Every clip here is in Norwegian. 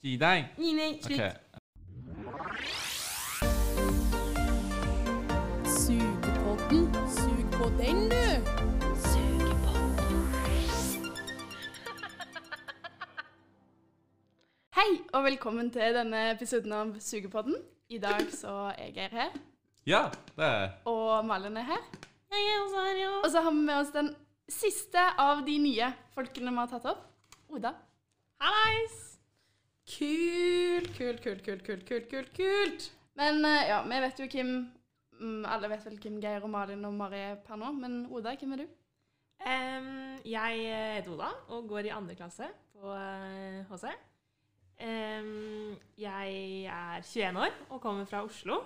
几代 Nini OK. Sugepodden. Sug på den, du. Hei, og velkommen til denne episoden av Sugepodden. I dag så er Geir her, Ja, det er og Malin er her. Og så har vi med oss den siste av de nye folkene vi har tatt opp. Oda. Hallais! Kult, kult, kult, kult, kult, kult, kult, kult. Men eh, ja, vi vet jo hvem mm, Alle vet vel hvem Geir og Malin og Mari er per nå, men Oda, hvem er du? Em, jeg heter Oda og går i andre klasse på eh, HC. Em, jeg er 21 år og kommer fra Oslo.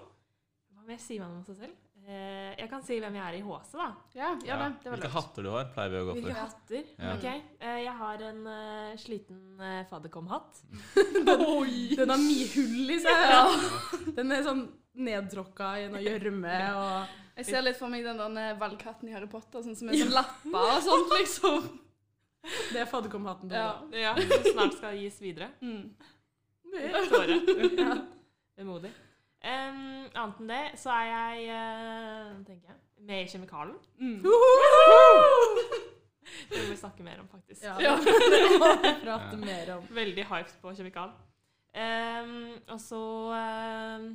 Hva mer sier man om seg selv? Eh, jeg kan si hvem jeg er i HC, da. Ja, ja, det, det var Hvilke lurt. hatter du har, pleier vi å gå Hvilke for. hatter? Ja. Ok. Eh, jeg har en eh, sliten eh, fadderkom-hatt. Den har mye hull i seg. Ja. Den er sånn nedtråkka i en gjørme og Jeg ser litt for meg den der eh, valgkatten i Harry Potter, sånn som er sånn lappa og sånt, liksom. Det er fadderkomhatten til Ja. Oda. Ja, som snart skal gis videre. Mm. Med tårer. Ja. Vemodig. Em, annet enn det så er jeg, eh, hva tenker jeg, med i Kjemikalen. Mm. Det må vi snakke mer om, faktisk. Ja. Ja. Det må vi prate mer om. Veldig hyped på Kjemikal. Ehm, og så ehm,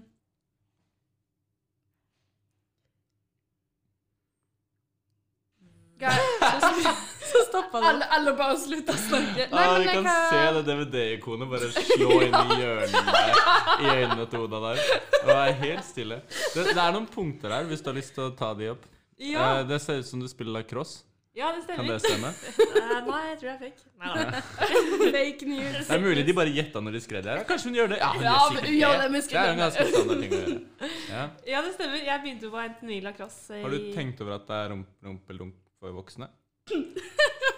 Geir, så spør- Så stoppa den. Alle, alle bare slutter å snakke. Ja, Nei, du men jeg Ah, kan se det DVD-ikonet bare slå inn i hjørnet der, i øynene til Oda der. Og er helt stille. Det, det er noen punkter her, hvis du har lyst til å ta de opp. ja, Eh, Det ser ut som du spiller lacrosse. ja, det Kan stemmer. det stemme? Eh, nei, jeg tror jeg fikk. Nei, da. Fake news. Det er mulig de bare gjetta når de skrev det. her. Kanskje hun gjør det? Ja, hun Ja, gjør men sikkert hun gjør det, men det. Det er jo en ganske standard ting å gjøre. Ja. Ja, det stemmer. Jeg begynte på NTNU lacrosse. Har du i- tenkt over at det er rump- rumpeldunk for voksne?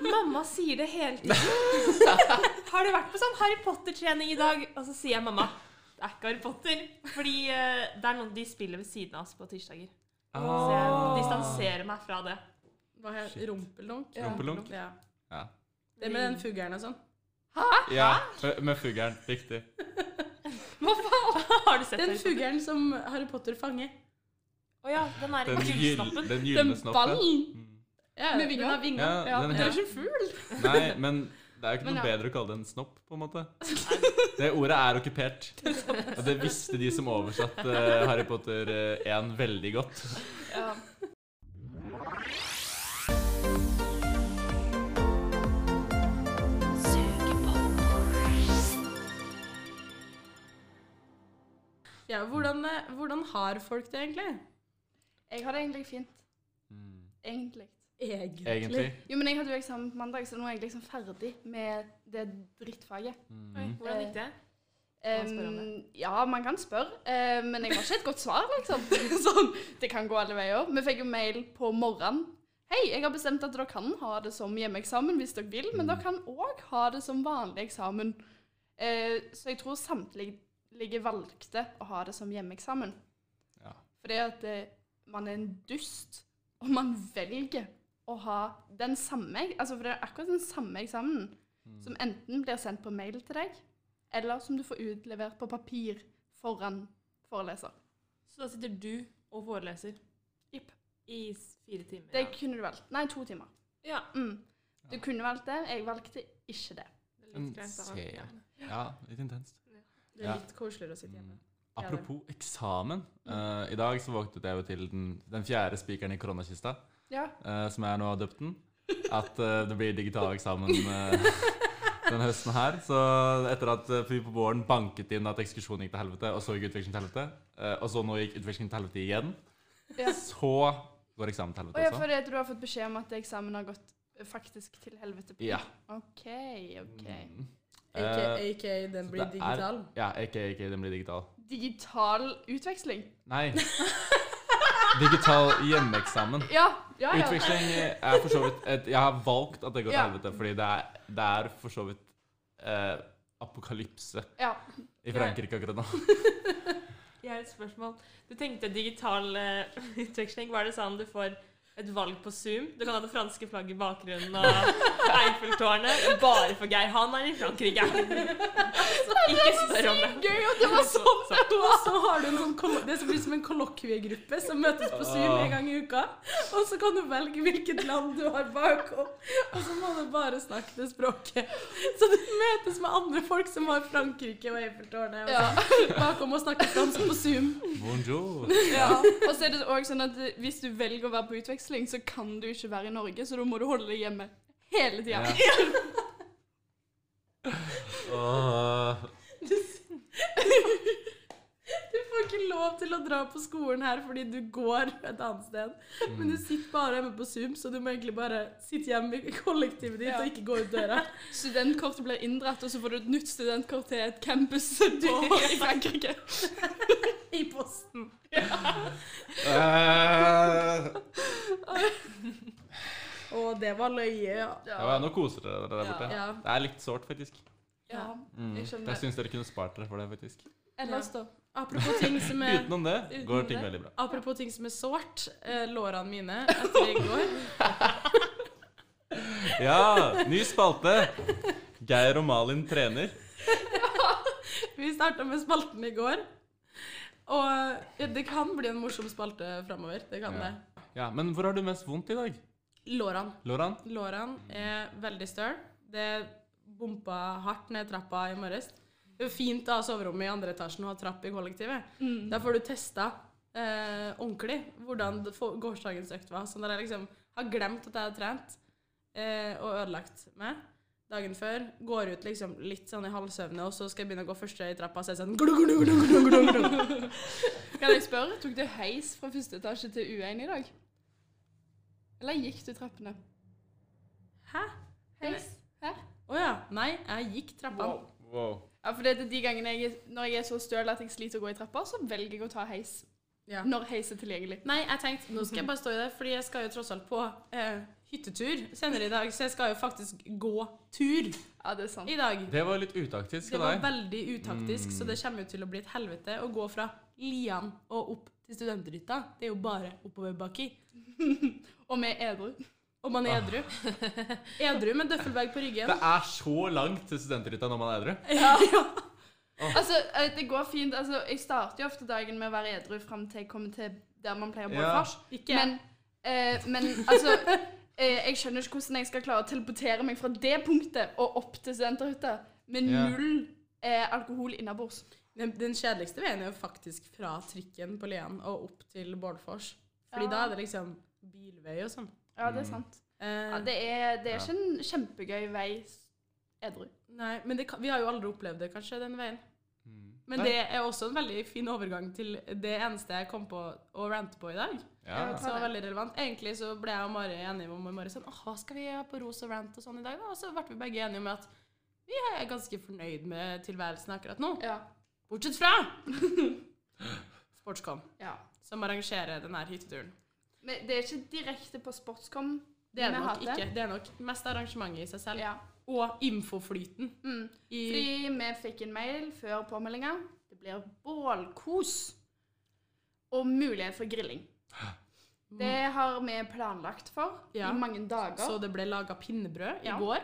Mamma sier det hele tiden. Har du vært på sånn Harry Potter-trening i dag? Og så sier jeg mamma. Det er ikke Harry Potter. Fordi eh, det er noen de spiller ved siden av oss på tirsdager. Så jeg Ah. distanserer meg fra det. Hva het Shit. Rumpeldunk? Ja. Rumpelunk? Ja. Ja. Det med den fuglen og sånn. ja. med- Med fuglen. Riktig. Hva faen? Har du sett Den Harry Potter? fuglen som Harry Potter fanger. Å ja, den er i Den gyl- gullsnoppen. den Den gylne snoppen. ballen Mm. ja, med vinger. Ja, den Det er her. ikke en fugl. Nei, men det er jo ikke Men noe ja. bedre å kalle det en snopp, på en måte. Det ordet er okkupert. Og det visste de som oversatte eh, Harry Potter eh, 1 veldig godt. Ja. Ja, hvordan, eh, hvordan har folk det egentlig? Jeg har det egentlig fint. Mm. Egentlig. Egentlig. Egentlig. Jo, men jeg hadde jo eksamen på mandag, så nå er jeg liksom ferdig med det drittfaget. Oi, Mm. Hvordan gikk det? Kan man spørre om Um, ja, man kan spørre, eh, men jeg har ikke et godt svar, liksom. sånn, det kan gå alle veier. Vi fikk jo mail på morgenen. Hei, jeg har bestemt at dere kan ha det som hjemmeeksamen hvis dere vil, men Mm. dere kan òg ha det som vanlig eksamen. Eh, så jeg tror samtlige valgte å ha det som hjemmeeksamen. Ja. Fordi at eh, man er en dust, og man velger å ha den samme Altså, for det er akkurat den samme eksamen Mm. Mm. som enten blir sendt på mail til deg, eller som du får utlevert på papir foran foreleser. Så da sitter du og foreleser Jipp. i s- fire timer. Det ja. kunne du valgt. Nei, to timer. Ja, Mm. Du kunne valgt det, jeg valgte ikke det. det er litt greit, da. Se. Ja. Ja, litt intenst. Det Ja. er litt koseligere å sitte hjemme. Apropos eksamen. eh, I dag så våknet jeg jo til den, den fjerde spikeren i koronakista, Ja. eh, som jeg nå har døpt den. At eh, det blir digital eksamen eh, den høsten her. Så etter at eh, vi på våren banket inn at ekskursjonen gikk til helvete, og så gikk utveksling til helvete, eh, og så nå gikk utveksling til helvete igjen, ja. så går eksamen til Og jeg helvete også. får det at du har fått beskjed om at eksamen har gått eh, faktisk til helvete. på- Ja. OK, OK. Mm. Aka, Eh, aka den så blir det er- digital. ja, ikke, ikke, den blir digital. Digital utveksling? Nei. Digital hjemmeeksamen. Ja. ja, ja. Utveksling er for så vidt et, Jeg har valgt at det går til Ja. helvete, fordi det er, det er for så vidt eh, apokalypse ja. i Frankrike akkurat nå. Jeg har et spørsmål. Du tenkte digital eh, utveksling. Var det sånn du får et valg på Zoom? Du kan ha det franske flagget i bakgrunnen og Eiffeltårnet. Bare for Geir. Han er i Frankrike. Ikke ikke spør om det. Gøy at det var sånn det Og var! så har du en sånn koll- det som blir som en kollokviegruppe som møtes på Zoom en gang i uka. Og så kan du velge hvilket land du har bakom, og så må du bare snakke det språket. Så du møtes med andre folk som har Frankrike og Eiffeltårnet og Ja. bakom og snakker fransk på Zoom. Bonjour. Og så er det også sånn at eh, hvis du velger å være på utveksling, så kan du ikke være i Norge, så da må du holde deg hjemme hele tida. Åh, Du får ikke lov til å dra på skolen her fordi du går et annet sted. Men du sitter bare hjemme på Zoom, så du må egentlig bare sitte hjemme i kollektivet ditt Ja. og ikke gå ut døra. Studentkortet blir inndratt, og så får du et nytt studentkort til et campus på, i Frankrike. I posten. mm. eh, Og det var løye. Ja. ja, men nå koser dere dere der Ja. borte. Ja. Det er litt sårt, faktisk. Ja, Mm. jeg Jeg skjønner det. syns dere kunne spart dere for det, faktisk. Ellers, da. Apropos ting som er Utenom det Utenom går ting det. veldig bra. Apropos ting som er sårt. Eh, lårene mine etter i går. Ja, ny spalte. Geir og Malin trener. Vi starta med spalten i går. Og ja, det kan bli en morsom spalte framover. Det kan Ja. det. Ja, Men hvor har du mest vondt i dag? Lårene. Loran? Lårene er veldig støl. Det bompa hardt ned trappa i morges. Det er fint å ha soverommet i andre etasjen og ha trapp i kollektivet. Da får du testa eh, ordentlig hvordan det få- gårsdagens økt var. Så når jeg liksom har glemt at jeg har trent eh, og ødelagt meg dagen før, går ut liksom litt sånn i halvsøvne, og så skal jeg begynne å gå første i trappa, og så er jeg sånn glug, glug, glug, glug, glug, glug. Kan jeg spørre, tok du heis fra første etasje til U1 i dag? Eller gikk du trappene? Hæ? Heis? Hæ? Å ja. Nei, jeg gikk trappa. Wow. Ja, for det er de gangene jeg, når jeg er så støl at jeg sliter å gå i trappa, så velger jeg å ta heis. Ja. Når heis er tilgjengelig. Nei, jeg tenkte, nå skal jeg bare stå i det, fordi jeg skal jo tross alt på eh, hyttetur senere i dag, så jeg skal jo faktisk gå tur Ja, det er sant. i dag. Det var litt utaktisk Det av var deg. veldig utaktisk, så det kommer jo til å bli et helvete å gå fra Lian og opp til studenthytta. Det er jo bare oppoverbakke. Og vi er edru. Og man er edru. Edru med døffelbag på ryggen. Det er så langt til studenthytta når man er edru. Ja. Altså, eh, det går fint. Altså, jeg starter jo ofte dagen med å være edru fram til jeg kommer til der man pleier å bo i Ja. fars. Ikke Men, eh, men altså eh, Jeg skjønner ikke hvordan jeg skal klare å teleportere meg fra det punktet og opp til studenterhytta med Ja. null eh, alkohol innabords. Den, den kjedeligste veien er jo faktisk fra trikken på Lian og opp til Bårdfors. Fordi Ja. da er det liksom bilvei og sånn. Ja, Mm. det er sant. Eh, Ja, det er, det er ikke en kjempegøy vei s- edru. Nei, men det, kan- vi har jo aldri opplevd det, kanskje, den veien. Men Nei. det er også en veldig fin overgang til det eneste jeg kom på å rante på i dag. Ja. Så Ta det. veldig relevant. Egentlig så ble jeg og Mari enige om i morgen sånn, «Åh, skal vi ha på ros og rant og sånn i dag? da?» Og så ble vi begge enige om at vi er ganske fornøyd med tilværelsen akkurat nå. Ja. Bortsett fra Sportscom, ja. som arrangerer denne hytteturen. Men det er ikke direkte på Sportscom. Det er vi det nok hater. ikke. Det er nok mest arrangementet i seg selv. Ja. Og infoflyten. Mm. I, Fordi vi fikk en mail før påmeldinga. Det blir bålkos og mulighet for grilling. Det har vi planlagt for Ja. i mange dager. så det ble laga pinnebrød i Ja. går.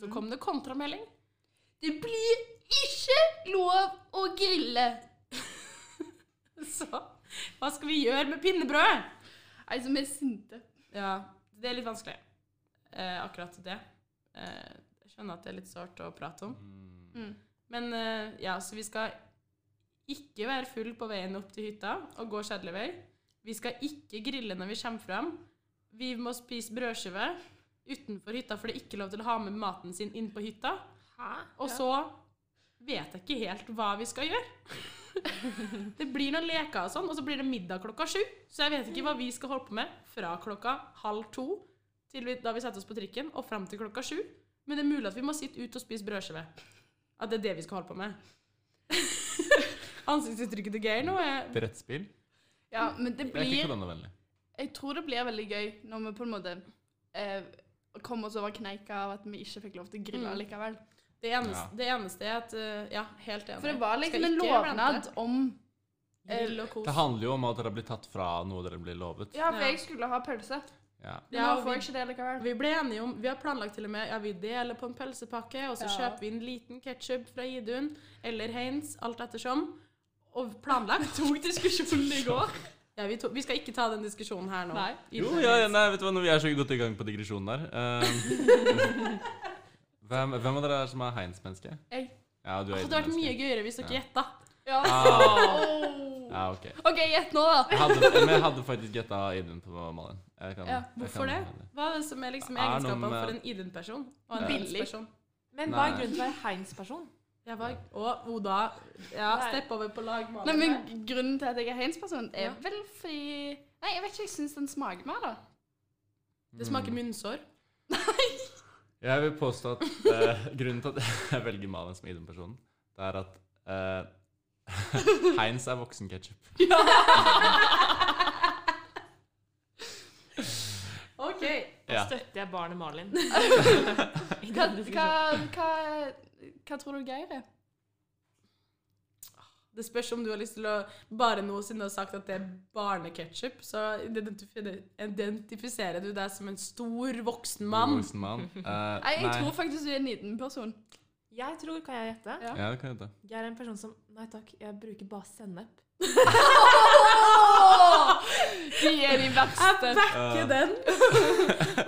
Så kom det kontramelding. det blir ikke lov å grille! Så hva skal vi gjøre med pinnebrød? Altså, vi er sinte. Ja, det er litt vanskelig. Eh, akkurat det. Eh, jeg skjønner at det er litt sårt å prate om. Mm. Men eh, ja, så vi skal ikke være full på veien opp til hytta og gå kjedelig vei. Vi skal ikke grille når vi kommer fram. Vi må spise brødskive utenfor hytta, for det er ikke lov til å ha med maten sin inn på hytta. Hæ? Og så vet jeg ikke helt hva vi skal gjøre. det blir noen leker og sånn, og så blir det middag klokka sju. Så jeg vet ikke hva vi skal holde på med fra klokka halv to til vi, da vi setter oss på trikken, og fram til klokka sju. Men det er mulig at vi må sitte ut og spise brødskive. At det er det vi skal holde på med. Ansiktsuttrykket til Geir nå er Brettspill? Ja, men det Det er ikke blir koronavennlig. Jeg tror det blir veldig gøy når vi på en måte eh, kommer oss over kneika av at vi ikke fikk lov til å grille Mm. likevel. det eneste, Ja. det eneste er at eh, Ja, helt enig. Eh, For det var Skal liksom en ikke lovnad blande. om Grill og kos. Det handler jo om at dere blir tatt fra noe dere blir lovet. Ja, for Ja. jeg skulle ha pølse. Ja. Nå Ja, og får vi- jeg ikke det likevel. Vi ble enige om, vi har planlagt til og med ja, vi deler på en pølsepakke, og så Ja. kjøper vi en liten ketsjup fra Idun eller Heinz, alt ettersom. Og planlagt tok diskusjonen i går. Ja, vi, to, vi skal ikke ta den diskusjonen her nå. Nei. Idun Jo, eller ja, ja, Heinz. nei, vet du hva, når vi er så godt i gang på digresjonen der eh, hvem, hvem av dere er som er Heinz-menneske? Jeg. Ja, du Det er hadde vært mye Idun-menneske. gøyere hvis dere Ja. gjetta. Ja. Ah. Åh. Ja, ok. OK, gjett nå, da. Jeg hadde, men jeg hadde faktisk gjetta Idun på Malin. Jeg kan, Ja, jeg Hvorfor det? kan- Hva er det som er liksom Er noe egenskapene med- for en Idun-person? Og en Nei. Heinz-person? Men hva er Nei. grunnen til å være Heinz-person? Jeg var, og Oda, ja, Nei. stepp over på lag. Malin. Nei, men Grunnen til at jeg er Heinz-person, er Ja. vel fordi Nei, jeg vet ikke. Jeg syns den smaker mer, da. Det smaker munnsår. Mm. Jeg vil påstå at eh, grunnen til at jeg velger Malin som Idun-personen, det er at eh, Heinz er voksen-ketchup. Ok. Da Ja. støtter jeg barnet Malin. I Hva, denne hva, diskusjonen. hva, hva tror du Geir er? Det spørs om du har lyst til å bare noe siden du har sagt at det er barneketchup, så identifi- identifiserer du deg som en stor voksen mann. Voksen mann. Eh, Nei, jeg tror faktisk du er en liten person. Jeg tror, kan jeg gjette, Ja. Ja, det kan jeg gjette. jeg er en person som Nei takk, jeg bruker bare sennep. De er de verste. Eh, Ikke den!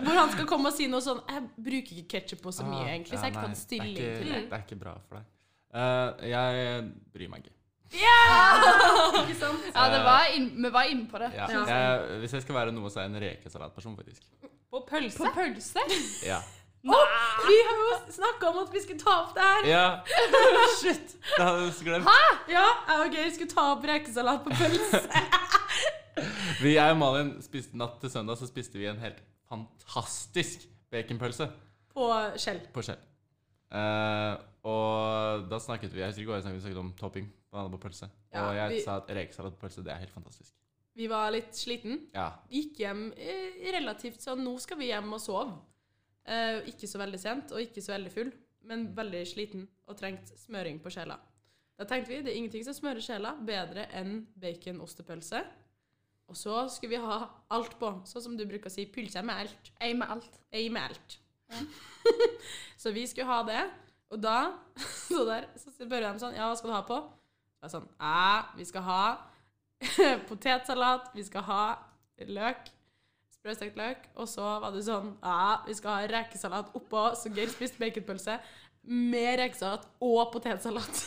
Hvor han skal komme og si noe sånn Jeg bruker ikke ketchup på så mye, Ah, egentlig, ja, så jeg ikke nei, tatt stilling det er til ikke, det. Det er ikke bra for deg. Eh, jeg bryr meg ikke. Ah, Ikke sant? Ja, Eh. det var inn, vi var inne på det. Ja. Ja. Jeg, hvis jeg skal være noe, så er jeg en rekesalatperson, faktisk. På pølse? På pølse? Ja. Vi har jo snakka om at vi skulle ta opp det her! ja. Slutt! Det hadde jeg glemt. Ja, jeg og Geir skulle ta opp rekesalat på pølse. Vi, jeg og Malin spiste natt til søndag, så spiste vi en helt fantastisk baconpølse På skjell. på Shell. Eh, og da snakket vi jeg husker ikke hva vi snakket, vi snakket om topping på på pølse. Ja, og jeg vi- sa at rekesalat på pølse, det er helt fantastisk. Vi var litt sliten. Ja. gikk hjem eh, relativt sånn Nå skal vi hjem og sove. Eh, ikke så veldig sent, og ikke så veldig full, men veldig sliten og trengt smøring på sjela. Da tenkte vi det er ingenting som smører sjela bedre enn bacon-ostepølse. Og så skulle vi ha alt på, sånn som du bruker å si, pylse med alt. Ei med alt. Ei med alt. så vi skulle ha det, og da så der, så spør de sånn Ja, hva skal du ha på? Så er jeg sånn Æ, vi skal ha potetsalat, vi skal ha løk. Sprøstekt løk. Og så var det sånn Ja, vi skal ha rekesalat oppå, så Geir spiste baconpølse med rekesalat og potetsalat.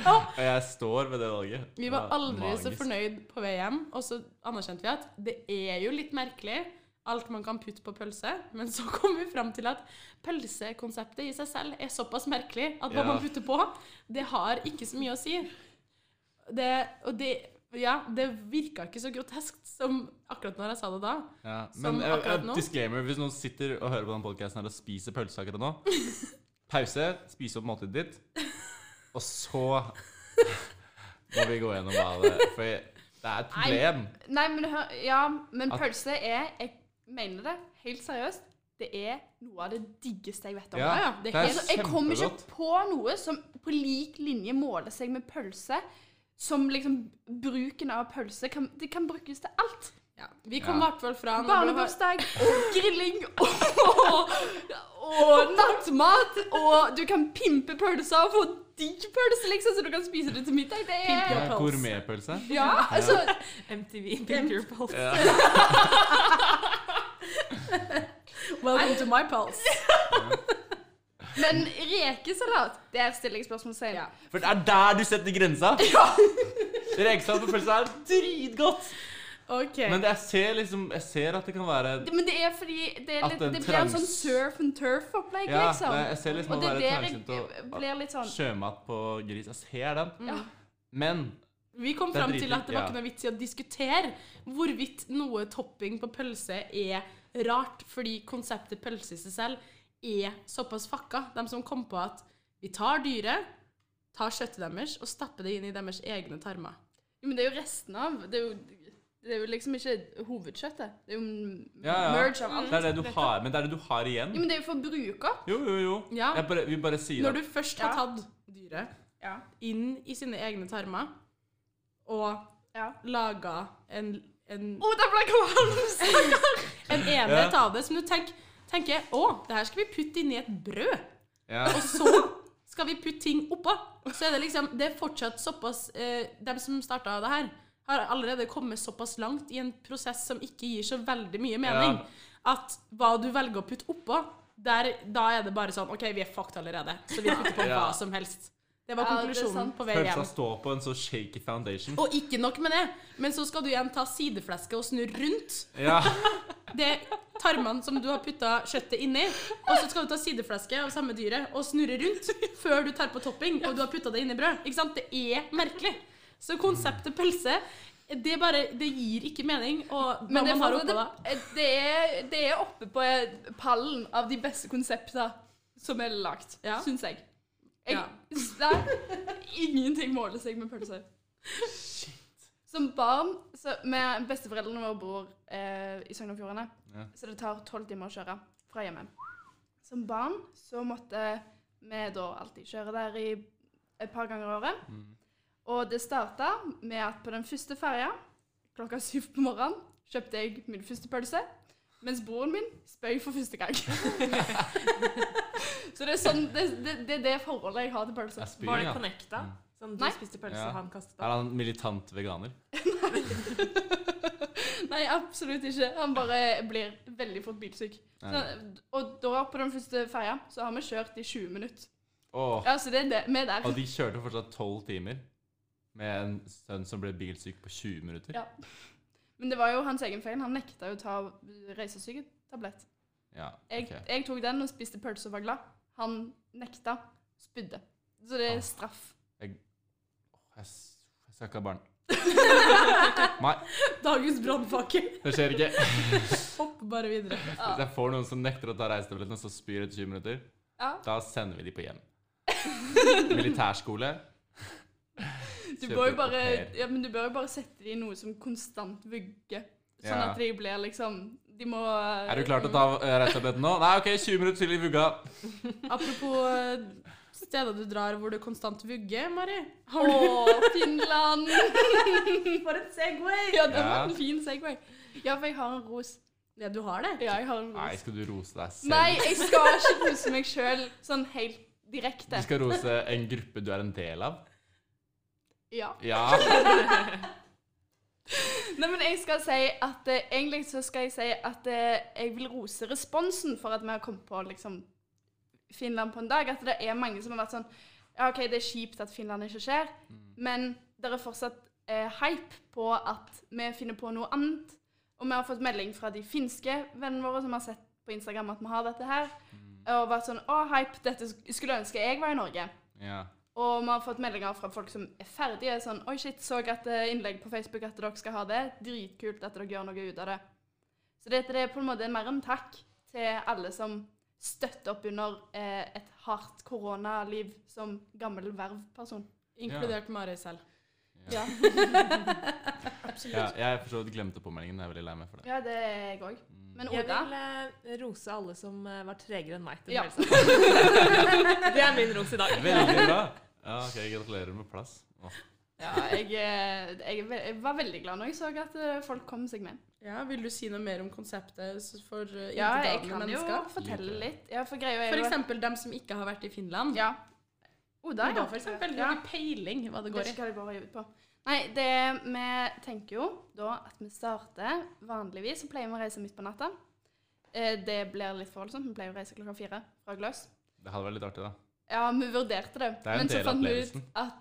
Og jeg står ved det valget. Vi Det var aldri så magisk. fornøyd på vei hjem, og så anerkjente vi at det er jo litt merkelig alt man kan putte på pølse, men så kom vi fram til at pølsekonseptet i seg selv er såpass merkelig at hva Ja. man putter på, det har ikke så mye å si. Det, og det, ja, det virka ikke så grotesk som akkurat når jeg sa det da. Ja, Som men eh, akkurat eh, nå. disclaimer, hvis noen sitter og hører på den podcasten her og spiser pølse akkurat nå, pause, spise opp måltidet ditt, og så må vi gå gjennom hva det For det er et problem. Nei, men hør Ja, men At- pølse er Jeg mener det helt seriøst. Det er noe av det diggeste jeg vet om. Ja, ja, det er Altså, jeg kommer kjempegodt. ikke på noe som på lik linje måler seg med pølse. Som liksom bruken av pølse kan, Det kan brukes til alt. Ja. Vi kom i Ja. hvert fall fra når du har- Barnebursdag og grilling og, og nattmat. Og du kan pimpe pølser og få digg pølse, liksom, så du kan spise det til middag. Det Pimpe. er Ja, Gourmetpølse. Ja, altså MTV Picture Pulse. Ja. Welcome to my pulse. Men rekesalat, der stiller jeg spørsmålstegn. Ja. For det er der du setter grensa! Rekesalat på pølse er dritgodt! Ok. Men jeg ser liksom Jeg ser at det kan være Det- Men det er fordi det, er At litt, den det blir en trengs. sånn surf and turf-opplegg, Ja, liksom. jeg ser liksom Og at det det er er der litt jeg trangsint å- blir litt sånn sjømat på gris. Jeg ser den. ja. Men Vi kom Det er fram til dritdigg, at det var ja. ikke noe vits i å diskutere hvorvidt noe topping på pølse er rart, fordi konseptet pølse i seg selv er såpass fucka. De som kom på at vi tar dyret, tar kjøttet deres og stapper det inn i deres egne tarmer. Jo, Men det er jo resten av Det er jo, det er jo liksom ikke hovedkjøttet. Det er jo en ja, ja. Mm. merge av alt. Det er det du har, men det er det du har igjen. Jo, men det er jo for å bruke opp. Jo, jo, jo. Ja. Jeg bare, vi bare sier Når det. du først Ja. har tatt dyret Ja. inn i sine egne tarmer og Ja. laga en en Å, det ble kvalm! en enhet av det som du tenk, tenker Å, det her skal vi putte inn i et brød. Ja. Og så skal vi putte ting oppå. Så er det liksom Det er fortsatt såpass eh, De som starta det her, har allerede kommet såpass langt i en prosess som ikke gir så veldig mye mening, Ja. at hva du velger å putte oppå, der, da er det bare sånn OK, vi er fucked allerede, så vi putter på Ja. hva som helst. Det var Ja, det er konklusjonen sant. på vei hjem. Pølsa står på en så shaky foundation. Og ikke nok med det, men så skal du igjen ta sideflesket og snu rundt Ja. det tarmene som du har putta kjøttet inni, og så skal du ta sideflaske av samme dyret og snurre rundt før du tar på topping, og du har putta det inn i brød. Ikke sant? Det er merkelig. Så konseptet pølse, det bare Det gir ikke mening, og hva Men det, man har oppå det, da. det, er, det er oppe på pallen av de beste konseptene som er lagt, Ja. syns jeg. jeg Ja. det, ingenting måler seg med pølser. Som barn så med Besteforeldrene våre bor eh, i Sogn og Fjordane, Ja. så det tar tolv timer å kjøre fra hjemme. Som barn så måtte vi da alltid kjøre der i et par ganger i året. Mm. Og det starta med at på den første ferja klokka syv på morgenen kjøpte jeg min første pølse, mens broren min spøy for første gang. så det er sånn, det, det, det er det forholdet jeg har til pølser. Jeg spyr, Var det ja. connecta? Mm. Sånn du Nei. spiste pølse, Ja. han kastet Er opp? han militant veganer? Nei, absolutt ikke. Han bare blir veldig fort bilsyk. Så, Ja. og da på den første ferja så har vi kjørt i 20 minutter. Åh. Ja, så det er det. Vi er der. Og de kjørte fortsatt tolv timer med en sønn som ble bilsyk på 20 minutter. Ja. Men det var jo hans egen feil. Han nekta jo å ta reisesykettablett. Ja, Jeg, ok. jeg tok den og spiste pølse og var glad. Han nekta. Spydde. Så det Ah. er straff. Jeg, s- jeg skal ikke ha barn. Nei, Dagens brannpakke. det skjer ikke. Hopp bare videre. Ja. Hvis jeg får noen som nekter å ta reisetabletten, og så spyr etter 20 minutter, Ja. da sender vi de på hjem. Militærskole. Du Kjøper bør, jo bare, au pair. ja, men du bør jo bare sette dem i noe som konstant vugger. Sånn Ja. at de blir liksom De må Er du klar til å ta eh, reisetabletten nå? Nei, OK, 20 minutter til i vugga. Apropos eh, steder du drar hvor det konstant vugger, Mari. Har du Å, Finland! For en Segway! Ja, det var Ja. en fin segway. Ja, for jeg har en ros. Ja, du har det? Ja, jeg har en Nei, ros. skal du rose deg selv? Nei, jeg skal ikke rose meg sjøl sånn helt Du direkte. skal rose en gruppe du er en del av? Ja. Ja. Nei, men jeg skal si at eh, egentlig så skal jeg si at eh, jeg vil rose responsen for at vi har kommet på liksom Finland på en dag. At det er mange som har vært sånn Ja, OK, det er kjipt at Finland ikke skjer, men det er fortsatt eh, hype på at vi finner på noe annet. Og vi har fått melding fra de finske vennene våre som har sett på Instagram at vi har dette her, og vært sånn Å, hype, dette sk- skulle ønske jeg var i Norge. ja. Og vi har fått meldinger fra folk som er ferdige. Sånn Oi, shit, så at eh, innlegg på Facebook at dere skal ha det. Dritkult at dere gjør noe ut av det. Så dette det er på en måte mer en takk til alle som støtter opp under eh, et hardt koronaliv som gammel vervperson. Inkludert Mari selv. Ja. ja. Jeg for så vidt glemte påmeldingen. Jeg er veldig lei meg for det. Mm. ja, det er jeg òg. Men Jeg Oda vil eh, rose alle som eh, var tregere enn meg til Ja. pølse. det er min ros i dag. Veldig bra. Ja, ok, Gratulerer med plass. Åh. ja, jeg, eh, jeg, er ve- jeg var veldig glad når jeg så at eh, folk kom seg med. Ja, Vil du si noe mer om konseptet s- for uh, Ja, jeg kan integrale jo mennesker? fortelle litt. Ja, for greia er For jo eksempel dem som ikke har vært i Finland. Ja. Oda, Da, for eksempel. Ja. Har ikke peiling hva det Vet går i. ikke hva det går ut på. Nei, det, vi tenker jo da at vi starter Vanligvis så pleier vi å reise midt på natta. Eh, Det blir litt for voldsomt. Vi pleier å reise klokka fire fra Gløs. Det hadde vært litt artig, da. Ja, vi vurderte det, Det er en men så del av fant vi ut opplevelsen. at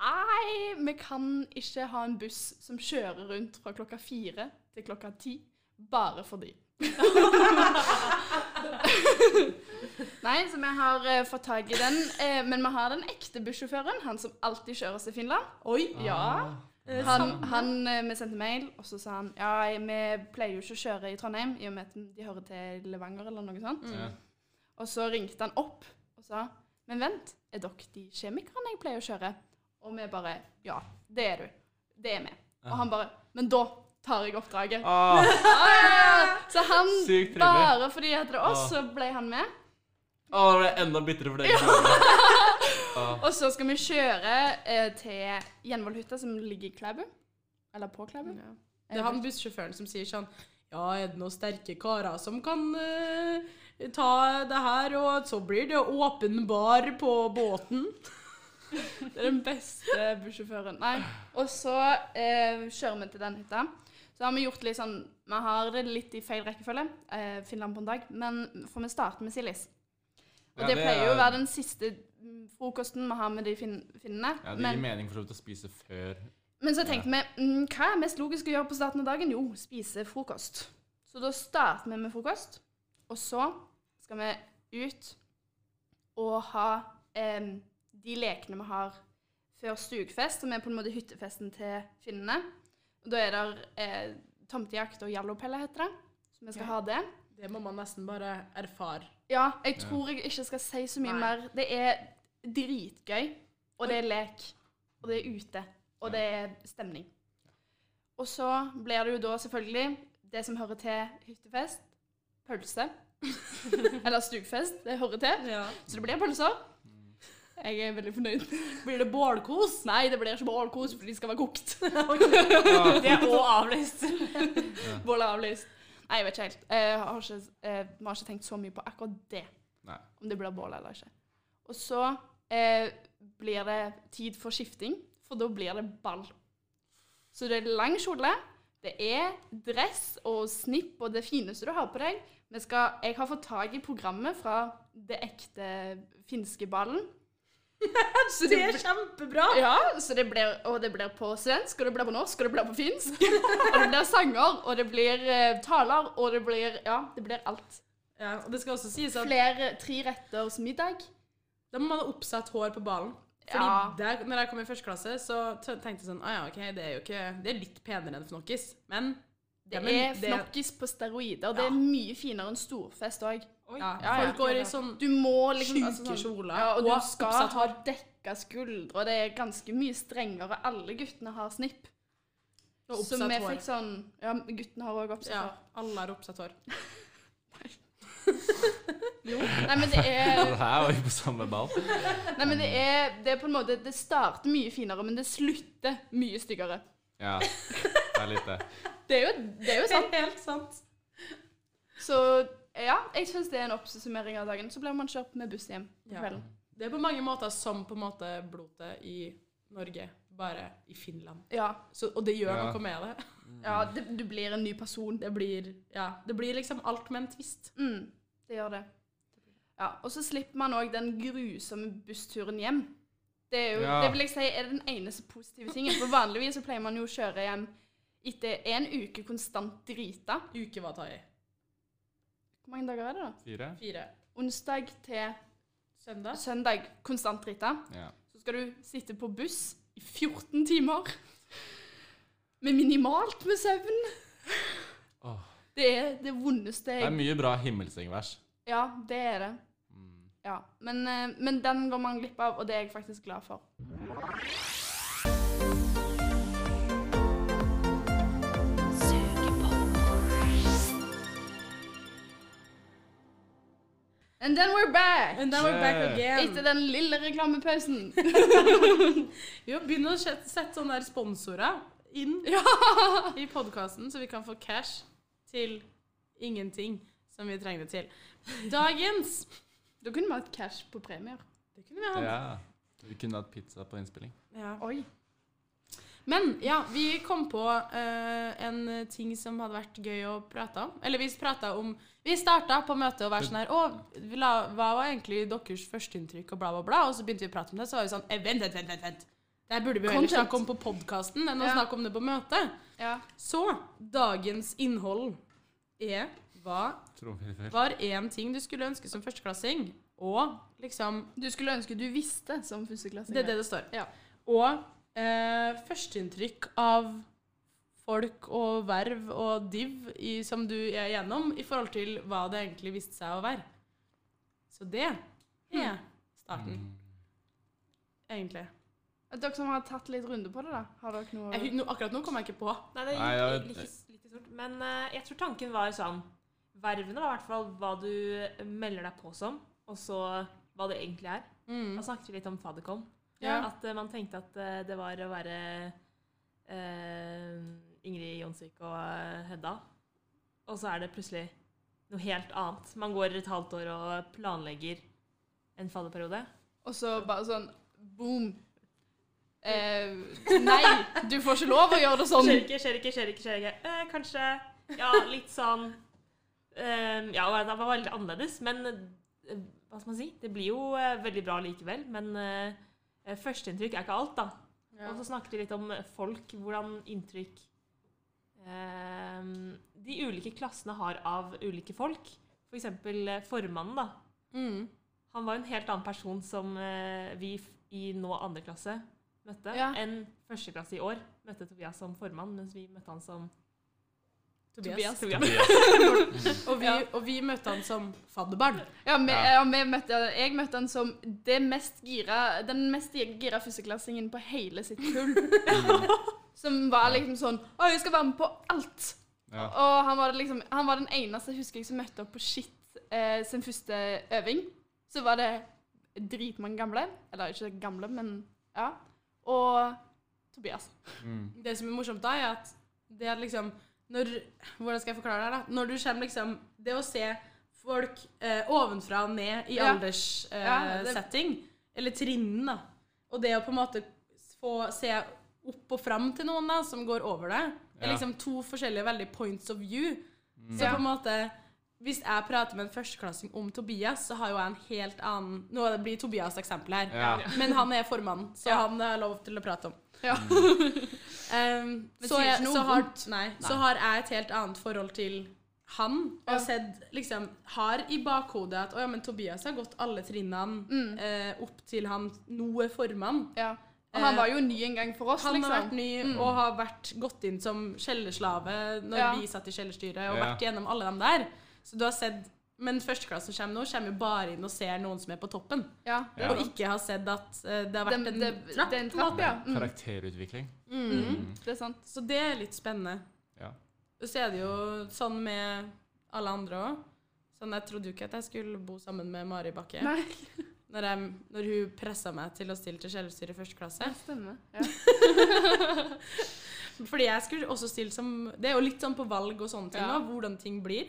Nei, vi kan ikke ha en buss som kjører rundt fra klokka fire til klokka ti. Bare for de. Nei, så vi har eh, fått tak i den. Eh, men vi har den ekte bussjåføren. Han som alltid kjører oss til Finland. Oi! Ja. Ah. Han, han, eh, vi sendte mail, og så sa han ja, jeg- vi pleier jo ikke å kjøre i Trondheim, i og med at de hører til Levanger eller noe sånt. Mm. Ja. Og så ringte han opp og sa men vent, er dere de kjemikerne jeg pleier å kjøre? Og vi bare ja, det er du. Det er vi. Og han bare men da tar jeg oppdraget. Ah, Ah! Så han, Sykt trivelig. bare fordi at det er oss, så ble han med. ah, da ble jeg enda bitrere for deg. Ah. Og så skal vi kjøre eh, til Gjenvollhytta, som ligger i Klæbu. Eller på Klæbu. Det er han bussjåføren som sier sånn Ja, er det noen sterke karer som kan eh, ta det her, og så blir det åpen bar på båten? Det er den beste bussjåføren. Nei. Og så eh, kjører vi til den hytta. Så har vi gjort litt sånn Vi har det litt i feil rekkefølge. Eh, Finland på en dag. Men For vi starter med Silis. Og Ja, det, det pleier jo er- å være den siste mm, frokosten vi har med de fin finnene. Ja, det gir men, mening for så vidt å spise før men så tenkte vi mm, hva er mest logisk å gjøre på starten av dagen? Jo, spise frokost. Så da starter vi med frokost. Og så skal vi ut og ha eh, de lekene vi har før stugfest, som er på en måte hyttefesten til finnene. Og da er det eh, tomtejakt og jallopelle, heter det. Så vi skal Ja. ha det. Det må man nesten bare erfare. Ja, jeg tror jeg ikke skal si så mye Nei. mer. Det er dritgøy, og det er lek, og det er ute, og det er stemning. Og så blir det jo da selvfølgelig det som hører til hyttefest, pølse. Eller stugfest, det hører til. Så det blir pølser. Mm. Jeg er veldig fornøyd. Blir det bålkos? Nei, det blir ikke bålkos, for de skal være kokt. ah, Det er òg avlyst. Bålet er avlyst. Nei, jeg vet ikke helt. Jeg har ikke, eh, vi har ikke tenkt så mye på akkurat det. Nei. Om det blir bål eller ikke. Og så eh, blir det tid for skifting, for da blir det ball. Så det er lang kjole, det er dress og snipp og det fineste du har på deg. Vi skal, jeg har fått tak i programmet fra det ekte finske ballen. Så Det er kjempebra! ja, så det blir, og det blir på svensk, og det blir på norsk, og det blir på finsk. Og det blir sanger, og det blir eh, taler, og det blir Ja, det blir alt. Ja, og det skal også sies at Flere tre retters middag. da må man ha oppsatt hår på ballen. Fordi Ja. der, når jeg kom i første klasse, så t- tenkte jeg sånn ah, ja, ok, det er jo ikke Det er litt penere enn Fnokkis, men Det Ja, men er det- fnokkis på steroider. Det Ja. er mye finere enn storfest òg. ja, Ja, ja. Folk går i sånn Du må liksom sjuke altså sånn- kjoler Ja, og du og skal oppsatt ha hår. dekka skuldre, og det er ganske mye strengere. Alle guttene har snipp. Og Så oppsatt vi hår. fikk sånn Ja, guttene har òg oppsatt Ja, hår. alle har oppsatt hår. Nei, men det er Det her var jo på samme ball. Nei, men det er, det er på en måte Det starter mye finere, men det slutter mye styggere. Ja, det er litt det. Det er jo, det er jo sant. helt sant. Så ja, jeg syns det er en oppsummering av dagen. Så blir man kjørt med buss hjem på Ja. kvelden. Det er på mange måter som på en måte blodet i Norge, bare i Finland. Ja. Så, og det gjør Ja. noe med det. ja det, du blir en ny person. Det blir, ja, det blir liksom alt med en twist. Mm, det gjør det. Ja, Og så slipper man òg den grusomme bussturen hjem. Det er jo, Ja. det vil jeg si er den eneste positive tingen. For vanligvis så pleier man jo å kjøre hjem etter en uke konstant drita. Uke var ta i. Hvor mange dager er det, da? Fire? Fire. Onsdag til Søndag. søndag konstant drita. Ja. Så skal du sitte på buss i 14 timer med minimalt med søvn. Åh. Det er det vondeste Det er jeg mye bra himmelsengvers. Ja, det er det. Mm. Ja. Men, eh, men den går man glipp av, og det er jeg faktisk glad for. And then we're back! And then we're back Yeah. again. Etter den lille reklamepausen. Vi må begynne å sette, sette sånne der sponsorer inn i podkasten, så vi kan få cash til ingenting som vi trenger det til. Dagens Da kunne vi hatt cash på premier. Det kunne vi hatt. Ja. Vi kunne hatt pizza på innspilling. Ja. Oi. Men ja, vi kom på eh, en ting som hadde vært gøy å prate om. Eller vi prata om Vi starta på møtet og var sånn her Å, vi la- hva var egentlig deres førsteinntrykk, og bla, bla, bla. Og så begynte vi å prate om det, så var vi sånn eh, Vent, vent, vent. vent, vent. Det burde vi jo heller Content. snakke om på podkasten enn å Ja. snakke om det på møtet. Ja. Så dagens innhold er hva Tror vi det var én ting du skulle ønske som førsteklassing, og liksom Du skulle ønske du visste som førsteklassing. Det er det det står. Ja. Og eh, førsteinntrykk av folk og verv og div i, som du er gjennom, i forhold til hva det egentlig viste seg å være. Så det er Hmm. starten, Mm. egentlig. Dere som har tatt litt runde på det, da? Har dere noe Jeg, hu- nå- akkurat nå kom jeg ikke på. Nei, det Nei, gikk jeg vet- litt, litt i sort. Men eh, jeg tror tanken var sånn Vervene var i hvert fall hva du melder deg på som, og så hva det egentlig er. Altså, Da snakket vi litt om fadderkom. Ja. At eh, man tenkte at eh, det var å være eh, Ingrid Jonsvik og eh, Hedda. Og så er det plutselig noe helt annet. Man går et halvt år og planlegger en fadderperiode. Og så bare sånn boom. Eh, nei, du får ikke lov å gjøre det sånn. Skjer ikke, skjer ikke, skjer ikke. Skjer ikke. Eh, kanskje Ja, litt sånn eh, Ja, det var veldig annerledes, men eh, hva skal man si? Det blir jo eh, veldig bra likevel, men eh, førsteinntrykk er ikke alt, da. Og så snakket vi litt om eh, folk, hvordan inntrykk eh, de ulike klassene har av ulike folk. For eksempel eh, formannen, da. Mm. Han var en helt annen person som eh, vi f- i nå andre klasse møtte, Ja. enn første klasse i år møtte Tobias som formann, mens vi møtte han som Tobias. Tobias. Tobias. Og, vi, og vi møtte han som fadderbarn. Ja, vi, Ja. ja. vi møtte, jeg møtte han som det mest gira, den mest gira førsteklassingen på hele sitt kull. Som var liksom sånn Å, jeg skal være med på alt! Ja. Og han var, liksom, han var den eneste husker jeg som møtte opp på Shit eh, sin første øving. Så var det dritmange gamle. Eller ikke gamle, men ja. Og Tobias. Mm. Det som er morsomt da, er at det er liksom når, Hvordan skal jeg forklare det her, da? Når du kommer liksom Det å se folk eh, ovenfra og ned i Ja. alderssetting, eh, Ja, det- setting, eller trinnen, da, og det å på en måte få se opp og fram til noen da, som går over deg, Ja. er Mm. liksom to forskjellige veldig points of view. Så Ja. på en måte hvis jeg prater med en førsteklassing om Tobias, så har jo jeg en helt annen Nå blir Tobias eksempel her, Ja. men han er formann, så Ja. han har jeg lov til å prate om. Ja. Mm. Um, Men så, sier jeg, ikke noe så, har, vondt. nei, så har jeg et helt annet forhold til han. Og Ja. sett, liksom, har i bakhodet at å ja, men Tobias har gått alle trinnene Mm. eh, opp til han nå er formann. ja. Og han var jo ny en gang for oss, Han liksom. har vært ny og har vært gått inn som kjellerslave når Ja. vi satt i kjellerstyret, og Ja. vært gjennom alle dem der. Så du har sett Men førsteklassen kommer nå, kommer jo bare inn og ser noen som er på toppen. Ja. Ja. Og ikke har sett at eh, det har vært Det, det, en det Mm. trapp. Mm. er en trapp, ja. Mm, Karakterutvikling. Mm. det er sant. Så det er litt spennende. Ja. Og så er det jo sånn med alle andre òg. Sånn, jeg trodde jo ikke at jeg skulle bo sammen med Mari Bakke. Nei. Når, jeg, når hun pressa meg til å stille til kjellerstyret i første klasse. Stemmer. Ja. Fordi jeg skulle også stille som Det er jo litt sånn på valg og sånne ting Ja. nå, hvordan ting blir.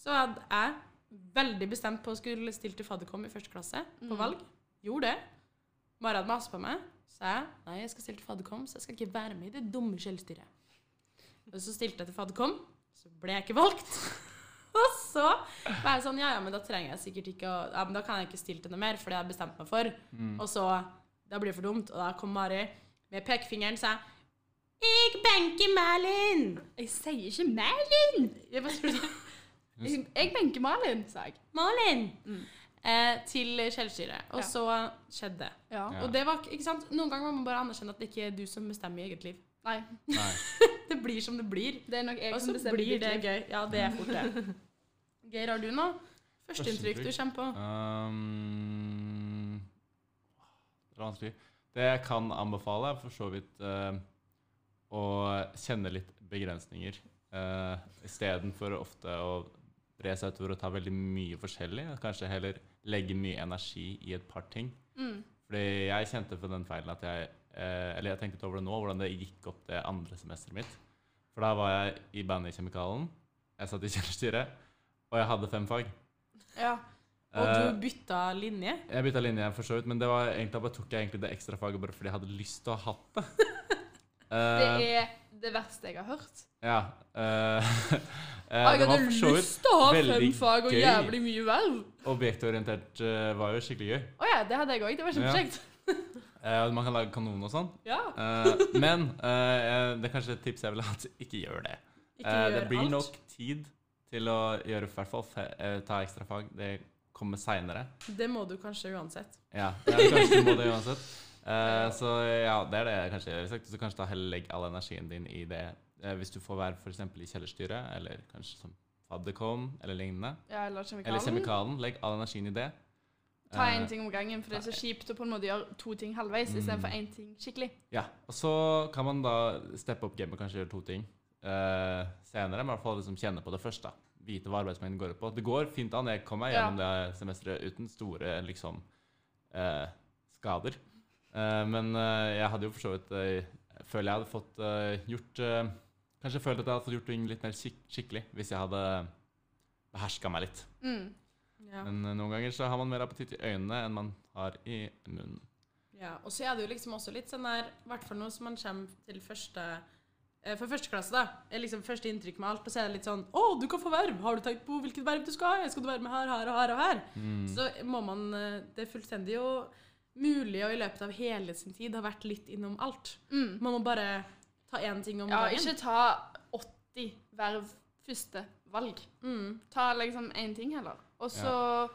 Så hadde jeg veldig bestemt på å skulle stille til fadderkom i første klasse Mm. på valg. Mm. Gjorde det. Mari hadde mast på meg. Sa jeg nei, jeg skal stille til fadderkom, så jeg skal ikke være med i det dumme kjellerstyret. Og så stilte jeg til fadderkom. Så ble jeg ikke valgt. Og så var jeg sånn Ja, ja, men da trenger jeg sikkert ikke å Ja, men da kan jeg ikke stille til noe mer, for det har jeg bestemt meg for. Og så Da blir det for dumt. Og da kom Mari med pekefingeren og sa Jeg benker Malin! Jeg sier ikke Malin! Jeg bare skulle si Jeg, jeg benker Malin, sa jeg. Malin! Eh, til kjellstyret. Og Ja. så skjedde det. Ja. Ja. Og det var ikke- ikke sant? Noen ganger må man bare anerkjenne at det ikke er du som bestemmer i eget liv. Nei, Nei. Det blir som det blir. det er nok jeg Og så som bestemmer. blir ditt det liv. gøy. Ja, det er fort det. Geir, har du noe førsteinntrykk du Førsteinntrykk? kommer på? Um, det er vanskelig. Det jeg kan anbefale, er for så vidt eh, å kjenne litt begrensninger. Uh, Istedenfor ofte å bre seg utover og ta veldig mye forskjellig. og Kanskje heller legge mye energi i et par ting. Mm. Fordi jeg kjente på den feilen at jeg eh, Eller jeg tenkte litt over det nå, hvordan det gikk opp det andre semesteret mitt. For da var jeg i bandet i Kjemikalen. Jeg satt i kjellerstyret. Og jeg hadde fem fag. Ja. Og Eh, du bytta linje? jeg bytta linje, for så vidt, men det var egentlig, da bare tok jeg egentlig det ekstra faget bare fordi jeg hadde lyst til å ha hatt det. Det Eh, er det verste jeg har hørt. ja. eh, eh, jeg det var hadde for så vidt lyst til å ha fem veldig fag og gøy. jævlig mye verv. Objektorientert eh, var jo skikkelig gøy. Å ja, det hadde jeg òg. Det var kjempekjekt. Eh, og man kan lage kanon og sånn. Ja. Eh, men eh, jeg- det er kanskje et tips jeg vil ha, at ikke gjør det. Ikke Eh, gjør det blir alt. nok tid til å gjøre i hvert fall fe eh, ta ekstra fag. Det kommer seinere. Det må du kanskje uansett. Ja, det er kanskje du må det uansett. Eh, så ja, det er det jeg kanskje jeg ville sagt. Så kanskje da heller legg all energien din i det. Eh, hvis du får være f.eks. i kjellerstyret, eller kanskje som fadderkom, eller lignende. ja eller Eller kjemikalen. kjemikalen. Legg all energien i det. Ta én Eh, ting om gangen, for det er så kjipt å på en måte gjøre to ting halvveis Mm. istedenfor én ting skikkelig. Ja, og så kan man da steppe opp gamet og kanskje gjøre to ting eh, senere. Men i hvert fall liksom kjenne på det først. da. Vite hva arbeidsmengden går ut på. Det går fint an. Jeg kom meg gjennom det semesteret uten store liksom eh, skader. Eh, men eh, jeg hadde jo for så vidt eh, Føler jeg hadde fått eh, gjort eh, Kanskje jeg følte at jeg hadde fått gjort ting litt mer skik skikkelig hvis jeg hadde beherska meg litt. Mm. Ja. Men eh, noen ganger så har man mer appetitt i øynene enn man har i munnen. Ja, og så er det jo liksom også litt sånn der, i hvert fall nå som man kommer til første eh, For første klasse, da, er liksom første inntrykk med alt, og så er det litt sånn Å, du kan få verv! Har du tenkt på hvilket verv du skal ha? i? Skal du være med her, her og her og her? Mm. Så må man eh, Det er fullstendig jo mulig å i løpet av hele sin tid ha vært litt innom alt. Mm. Man må bare ta én ting om Ja, gangen. ikke ta 80 verv første valg. Mm. Ta liksom én ting heller. Og så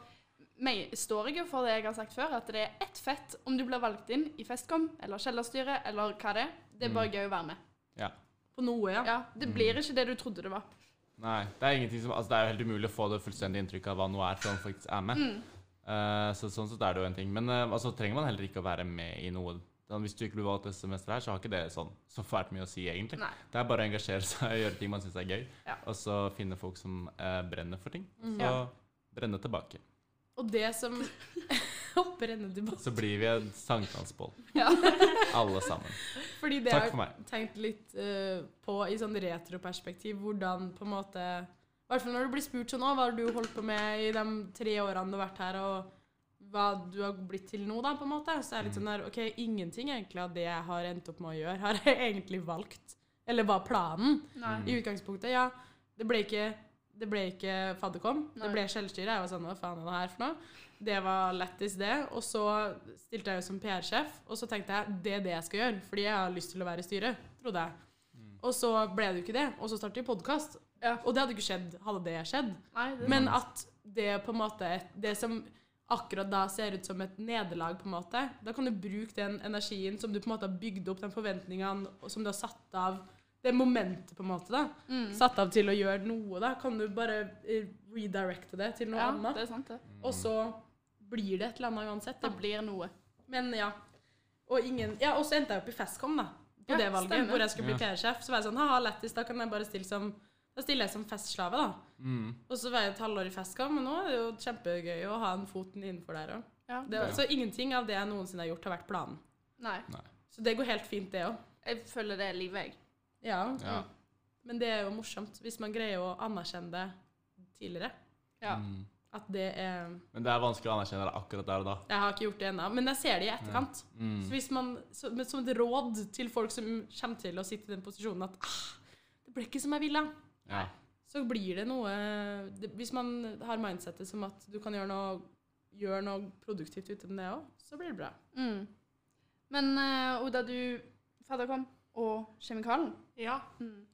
meg, står jeg jo for det jeg har sagt før, at det er ett fett om du blir valgt inn i Festkom eller Kjellerstyret eller hva det er. Det er bare gøy å være med. På noe, Mm. ja. Mm. Ja, Det blir ikke det du trodde det var. Nei, det er ingenting som Altså, det er jo helt umulig å få det fullstendige inntrykket av hva noe er før man faktisk er med. Mm. Eh, så sånn sett er det jo en ting. Men eh, altså, trenger man heller ikke å være med i noe. Sånn, hvis du ikke blir valgt til semesteret her, så har ikke det sånn så fælt mye å si, egentlig. Nei. Det er bare å engasjere seg og gjøre ting man syns er gøy, Ja. Mm. og så finne folk som eh, brenner for ting. Så Ja. brenne tilbake. Mm. Og det som hopper ennå tilbake Så blir vi en sankthansbål, Ja. alle sammen. Fordi det Takk har for meg. jeg tenkt litt eh, på i sånn retroperspektiv, hvordan på en måte I hvert fall når du blir spurt sånn «Å, hva har du holdt på med i de tre årene du har vært her, og hva du har blitt til nå, da, på en måte. Så er det litt sånn der OK, ingenting egentlig av det jeg har endt opp med å gjøre, har jeg egentlig valgt. Eller var planen. Nei. Mm. I utgangspunktet, ja. Det ble ikke, det ble ikke fadderkom. Det Nei. ble selvstyre. Jeg var sånn, hva faen er det her for noe? Det var lættis, det. Og så stilte jeg jo som PR-sjef, og så tenkte jeg det er det jeg skal gjøre, fordi jeg har lyst til å være i styret, trodde jeg. Og så ble det jo ikke det, og så startet jeg podkast. Ja. Og det hadde ikke skjedd, hadde det skjedd. Nei, det Men at det på en måte Det som akkurat da ser ut som et nederlag, på en måte, da kan du bruke den energien som du på en måte har bygd opp, den forventningene og som du har satt av det momentet, på en måte, da. Mm. Satt av til å gjøre noe, da. Kan du bare eh, redirecte det til noe ja, annet? det er sant, det. Og så blir det et eller annet uansett, Det da. blir noe. Men ja. Og ingen Ja, og så endte jeg opp i Festcom, da. På Ja, det valget, stemmer. hvor jeg skulle bli Ja. PR-sjef. Så var jeg sånn ha-ha, lættis, da kan jeg bare stille som Da stiller jeg som festslave, da. Mm. Og så var jeg et halvår i Festcom, men nå er det jo kjempegøy å ha en foten innenfor der òg. Ja. Ja. Så ingenting av det jeg noensinne har gjort, har vært planen. Nei. Så det går helt fint, det òg. Jeg føler det er livet, jeg. Ja. Ja. Men det er jo morsomt hvis man greier å anerkjenne det tidligere. Ja. Mm. At det er Men det er vanskelig å anerkjenne det akkurat der og da. Jeg har ikke gjort det ennå, men jeg ser det i etterkant. Mm. Så hvis man, så, men som et råd til folk som kommer til å sitte i den posisjonen at ah, det ble ikke som jeg ville, Ja. så blir det noe det, Hvis man har mindsettet som at du kan gjøre noe, gjøre noe produktivt uten det òg, så blir det bra. Mm. Men eh, Oda, du fadderkom og Kjemikalen. Ja.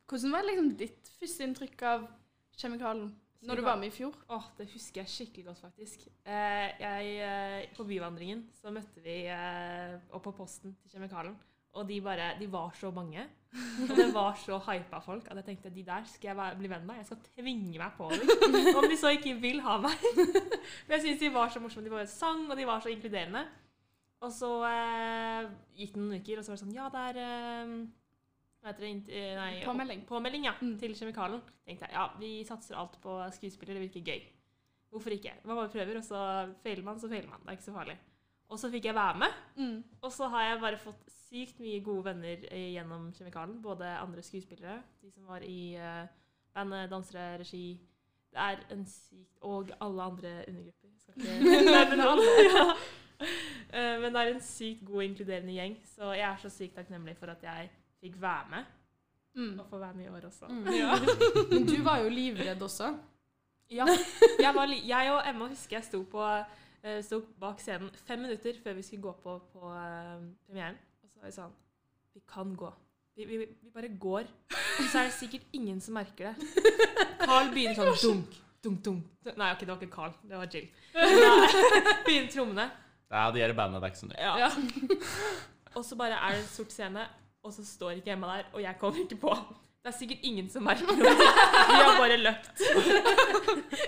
Hvordan var liksom ditt første inntrykk av Kjemikalen når du var med i fjor? Åh, det husker jeg skikkelig godt, faktisk. Eh, jeg, eh, på Byvandringen så møtte vi eh, opp på posten til Kjemikalen. Og de, bare, de var så mange. Og det var så hypa folk at jeg tenkte de der skal jeg være- bli venn med. Jeg skal tvinge meg på dem. Om de så ikke vil ha meg. Men jeg syns de var så morsomme. De bare sang, og de var så inkluderende. Og så eh, gikk det noen uker, og så var det sånn Ja, det er eh, Hva heter det? Int- eh, Nei, Påmelding. påmelding ja, Mm. til Kjemikalen. tenkte jeg, ja, vi satser alt på skuespiller, det virker gøy. Hvorfor ikke? Man bare prøver, og så feiler man, så feiler man. Det er ikke så farlig. Og så fikk jeg være med, Mm. og så har jeg bare fått sykt mye gode venner eh, gjennom Kjemikalen. Både andre skuespillere, de som var i eh, bandet, dansere, regi. Det er en sykt Og alle andre undergrupper. Jeg skal ikke nevne alle. Ja. Eh, Men det er en sykt god, inkluderende gjeng, så jeg er så sykt takknemlig for at jeg fikk være med. Mm. Og får være med i år også. Mm. Ja. Men du var jo livredd også. Ja, jeg, var, li- jeg og Emma husker jeg sto, på, eh, sto bak scenen fem minutter før vi skulle gå på, på eh, premieren. Og så var vi sånn Vi kan gå. Vi, vi, vi bare går. Og så er det sikkert ingen som merker det. Carl begynner sånn dunk, dunk, dunk. Nei, ok, det var ikke Carl. Det var Jill. Da Begynner trommene. Det er de her i bandet, det er ikke så nøye. Ja. og så bare er det en sort scene, og så står ikke Emma der, og jeg kommer ikke på. Det er sikkert ingen som merker noe. Vi har bare løpt.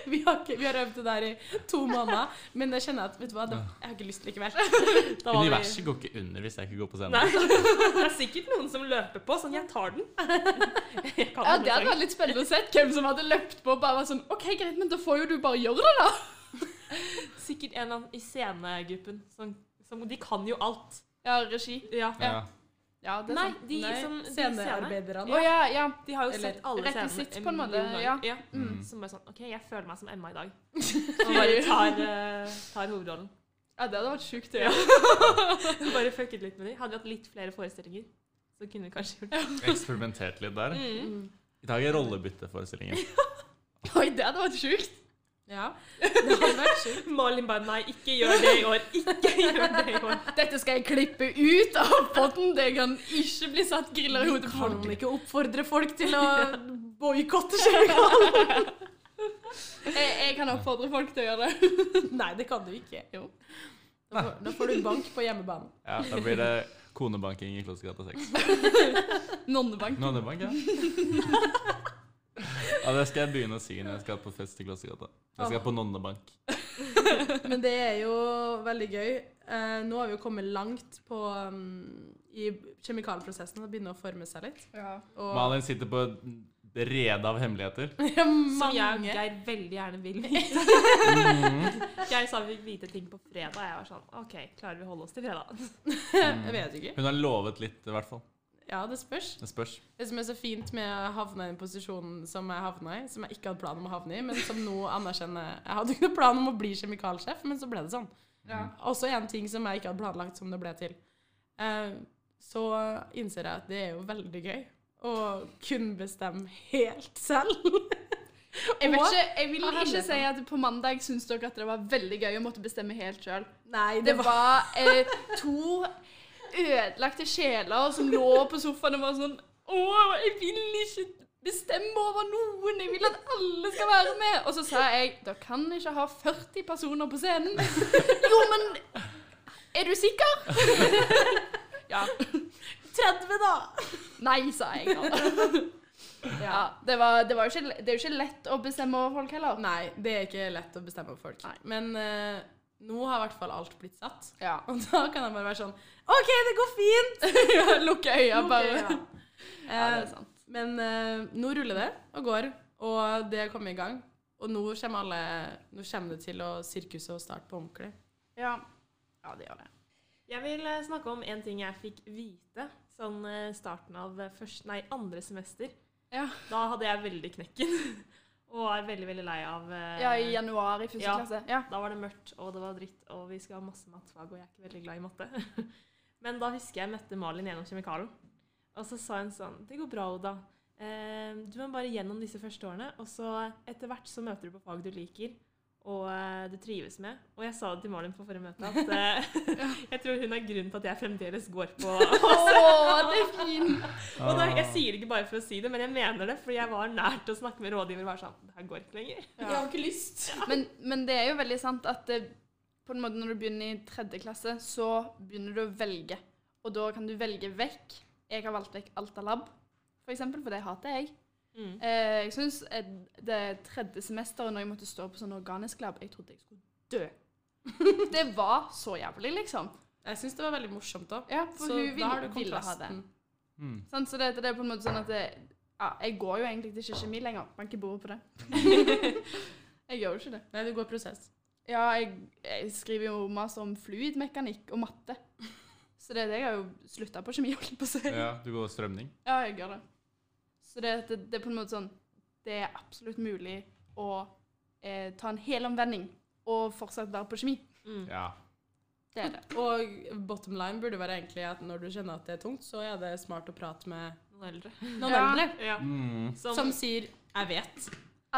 Vi har, ikke, vi har øvd det der i to måneder, men jeg kjenner at vet du hva, det, jeg har ikke lyst likevel. Da var vi- Universet går ikke under hvis jeg ikke går på scenen. Nei. Det er sikkert noen som løper på, sånn jeg tar den. Jeg kan Ja, den Det hadde sangen. vært litt spennende å se hvem som hadde løpt på og bare vært sånn OK, greit, men da får jo du bare gjøre det, da. Sikkert en eller annen i scenegruppen. Som, som, de kan jo alt. Ja, regi. Ja. Ja. Ja, det er Nei, sant. de Nei, som de scener, scenearbeiderne. Å ja, ja. De har jo Eller sett alle rekvisitt, scenene. en på en måte, million ganger. ja. Mm. Som bare sånn OK, jeg føler meg som Emma i dag. Og bare tar, eh, tar hovedrollen. ja, det hadde vært sjukt å gjøre. Bare fucket litt med de. Hadde vi hatt litt flere forestillinger, så kunne vi kanskje gjort det. Mm. Eksperimentert Mm. litt der. Mm. I dag er rollebytteforestillingen. Oi, det hadde vært sjukt. Ja. Det hadde vært sjukt. Malin bare nei, ikke gjør det i år. Ikke gjør det i år. Dette skal jeg klippe ut av potten. Det kan ikke bli satt griller i Du hodet på kan folk. ikke oppfordre folk til å boikotte Kjøkon. Jeg, jeg kan oppfordre folk til å gjøre det. Nei, det kan du ikke. Jo. Da får, da får du bank på hjemmebane. Ja, da blir det konebanking i Klostergata 6. Nonnebank. Nonnebank, ja. Ja, det skal jeg begynne å si når jeg skal på fest i Klostergata. Jeg skal på nonnebank. Men det er jo veldig gøy. Eh, nå har vi jo kommet langt på, um, i kjemikalprosessen og begynner å forme seg litt. Ja. Og Malin sitter på et rede av hemmeligheter. Ja, Som jeg og mange. Geir veldig gjerne vil vite. Mhm. Geir sa vi fikk vite ting på fredag. Jeg var sånn OK, klarer vi å holde oss til fredag? Jeg vet ikke. Hun har lovet litt, i hvert fall. Ja, det spørs. Det spørs. Det som er så fint med å havne i den posisjonen som jeg havna i, som jeg ikke hadde plan om å havne i, men som nå anerkjenner Jeg hadde ikke noen plan om å bli kjemikalsjef, men så ble det sånn. Ja. Også en ting som jeg ikke hadde planlagt, som det ble til. Eh, så innser jeg at det er jo veldig gøy å kunne bestemme helt selv. Jeg, vet ikke, jeg vil Hva handler ikke det si at på mandag syns dere at det var veldig gøy å måtte bestemme helt sjøl. Nei, Det var eh, to ødelagte sjeler som lå på sofaen og var sånn Å, jeg vil ikke bestemme over noen! Jeg vil at alle skal være med! Og så sa jeg dere kan ikke ha 40 personer på scenen. Jo, men er du sikker? Ja. 30, da! Nei, sa jeg. da. Ja, det, var, det, var jo ikke, det er jo ikke lett å bestemme over folk heller. Nei, det er ikke lett å bestemme over folk. Nei. Men eh, nå har i hvert fall alt blitt satt. Ja. Og da kan jeg bare være sånn OK, det går fint! Lukke øya, bare. Ok, ja. Ja, det er sant. Eh, Men eh, nå ruller det og går, og det er kommet i gang. Og nå kommer, alle, nå kommer det til å sirkuset og starte på ordentlig. Ja. ja, det gjør det. Jeg vil eh, snakke om en ting jeg fikk vite sånn eh, starten av eh, først, nei, andre semester. Ja. Da hadde jeg veldig knekken og var veldig, veldig lei av eh, Ja, i januar i første Ja. klasse. Ja. Da var det mørkt, og det var dritt, og vi skal ha masse mattfag, og jeg er ikke veldig glad i matte. Men da husker jeg møtte Malin gjennom kjemikalen, og så sa hun sånn Det går bra, Oda. Eh, Du må bare gjennom disse første årene, og så etter hvert så møter du på fag du liker, og eh, du trives med. Og jeg sa det til Malin på forrige møte, at eh, jeg tror hun er grunnen til at jeg fremdeles går på Å, det er fint! Og da, Ah. jeg sier det ikke bare for å si det, men jeg mener det, fordi jeg var nært å snakke med rådgiver og bare sånn Det her går ikke lenger. Jeg har ikke lyst. Men, men det er jo veldig sant at det, på en måte når du begynner i tredje klasse, så begynner du å velge. Og da kan du velge vekk. Jeg har valgt vekk Alta Lab, for eksempel, for det hater jeg. Mm, Eh, jeg syns det tredje semesteret når jeg måtte stå på sånn organisk lab, jeg trodde jeg skulle dø. Det var så jævlig, liksom. Jeg syns det var veldig morsomt òg. Ja, for hun vil, ville ha det. Mm. Sant, så det, det er på en måte sånn at det, ja, Jeg går jo egentlig til ikke kjemi lenger. Bank i bordet på det. jeg gjør jo ikke det. Nei, du går prosess. Ja, jeg, jeg skriver jo masse om fluidmekanikk og matte. Så det er det jeg har jo slutta på kjemi, holdt jeg på å si. Ja. Ja, du går strømning. jeg gjør det. Så det, det, det er på en måte sånn Det er absolutt mulig å eh, ta en hel omvending og fortsatt være på kjemi. mm. Ja. Det er det. Og bottom line burde være egentlig at når du kjenner at det er tungt, så er det smart å prate med Noen eldre. noen Ja. eldre Ja. Mm. som sier 'jeg vet'.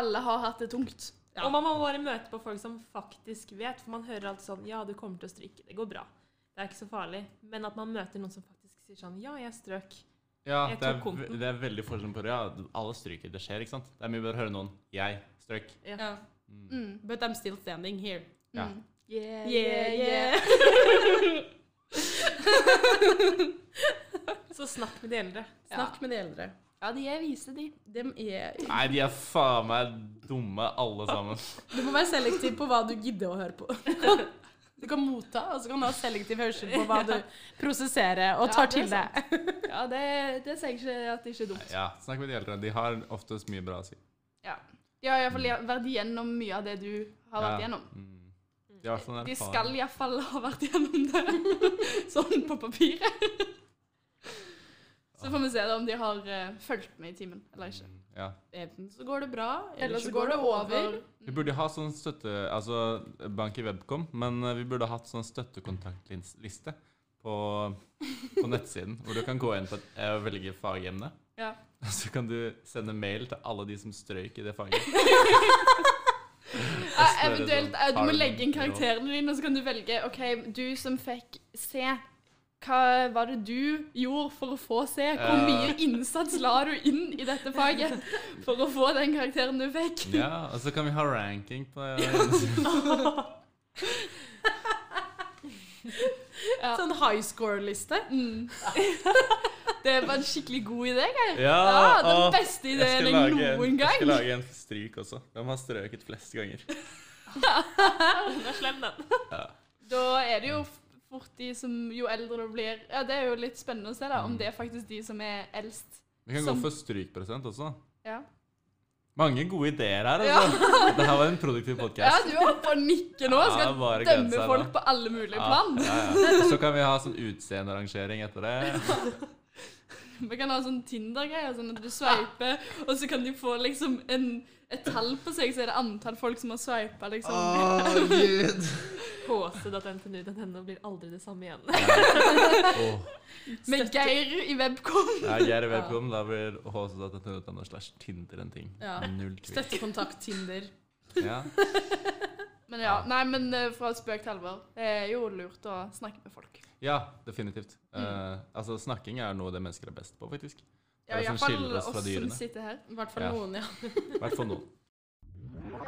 Alle har hatt det tungt. Ja. Og man må bare møte på folk som faktisk vet, for man hører alltid sånn Ja, du kommer til å stryke. Det går bra. Det er ikke så farlig. Men at man møter noen som faktisk sier sånn Ja, jeg strøk. Ja, Jeg det er, tok konten. ve- det er veldig forskjell på det. Ja, alle stryker. Det skjer, ikke sant? Det er mye bedre å høre noen 'jeg strøk'. Ja. Mm. But I'm still standing here. Ja. Mm. Yeah, Yeah, yeah. Så snakk med de eldre. Snakk med de eldre. Ja, de er vise, de. Dem er Nei, de er faen meg dumme, alle sammen. Du må være selektiv på hva du gidder å høre på. Du kan motta, og så kan du ha selektiv hørsel på hva du prosesserer og tar Ja, det er til deg. Ja, det, det sier jeg ikke at det ikke er dumt. Ja, Snakk med de eldre. De har oftest mye bra å si. Ja. De har iallfall vært igjennom mye av det du har Ja. vært igjennom. Mm. De, har sånn De erfaring. skal iallfall ha vært igjennom det. sånn på papiret. Så får vi se da om de har eh, fulgt med i timen eller ikke. Mm, Ja. Enten så går det bra, Eller så går det over. Vi burde ha sånn støtte... Altså bank i Webcom, men eh, vi burde hatt sånn støttekontaktliste på, på nettsiden, hvor du kan gå inn på et, eh, og velge fagemne. Ja. Så kan du sende mail til alle de som strøyk i det faget. Ja, eventuelt, eh, sånn Du må legge inn karakterene dine, og så kan du velge OK, du som fikk C. Hva var det du gjorde for å få C? Hvor Ja. mye innsats la du inn i dette faget for å få den karakteren du fikk? Ja, og så kan vi ha ranking på eh, Ja. Sånn high score-liste. Mm. Det var en skikkelig god idé. Geir. Ja, Ja, den og- beste Ah, Jeg skal ideen jeg lage en- noen Jeg skal gang. lage en for stryk også. Hvem har strøket flest ganger? Den er slem, den. Da er det jo f- fort de som Jo eldre du blir Ja, Det er jo litt spennende å se Mm. da, om det er faktisk de som er eldst. Vi kan gå Som- for strykprosent også. Ja, Mange gode ideer her, Ja. altså. Dette var en produktiv ja podkast. du er oppe og nikker nå. Ja, Skal bare grenser dømme her folk nå. på alle mulige plan. Ja, ja, ja. Så kan vi ha sånn utseenderangering etter det. Vi kan ha sånn Tinder-greier, sånn at du sveiper, og så kan de få liksom en, et tall på seg, så er det antall folk som har sveipa, liksom. Gud! Kåse.ntnu.no blir aldri det samme igjen. Med Geir i Webcom. Ja, Geir i Webcom, da blir hc.no slash Tinder en ting. Ja. Null tvil. Støttekontakt, Tinder. Ja. Men ja, nei, men eh, fra spøk til alvor. Det er jo lurt å snakke med folk. ja, definitivt. Eh, altså, snakking er noe det mennesker er best på, faktisk. Ja, Det er det som iallfall skiller oss oss fra som dyrene. sitter her. I hvert fall Ja. noen, ja. I hvert fall noen.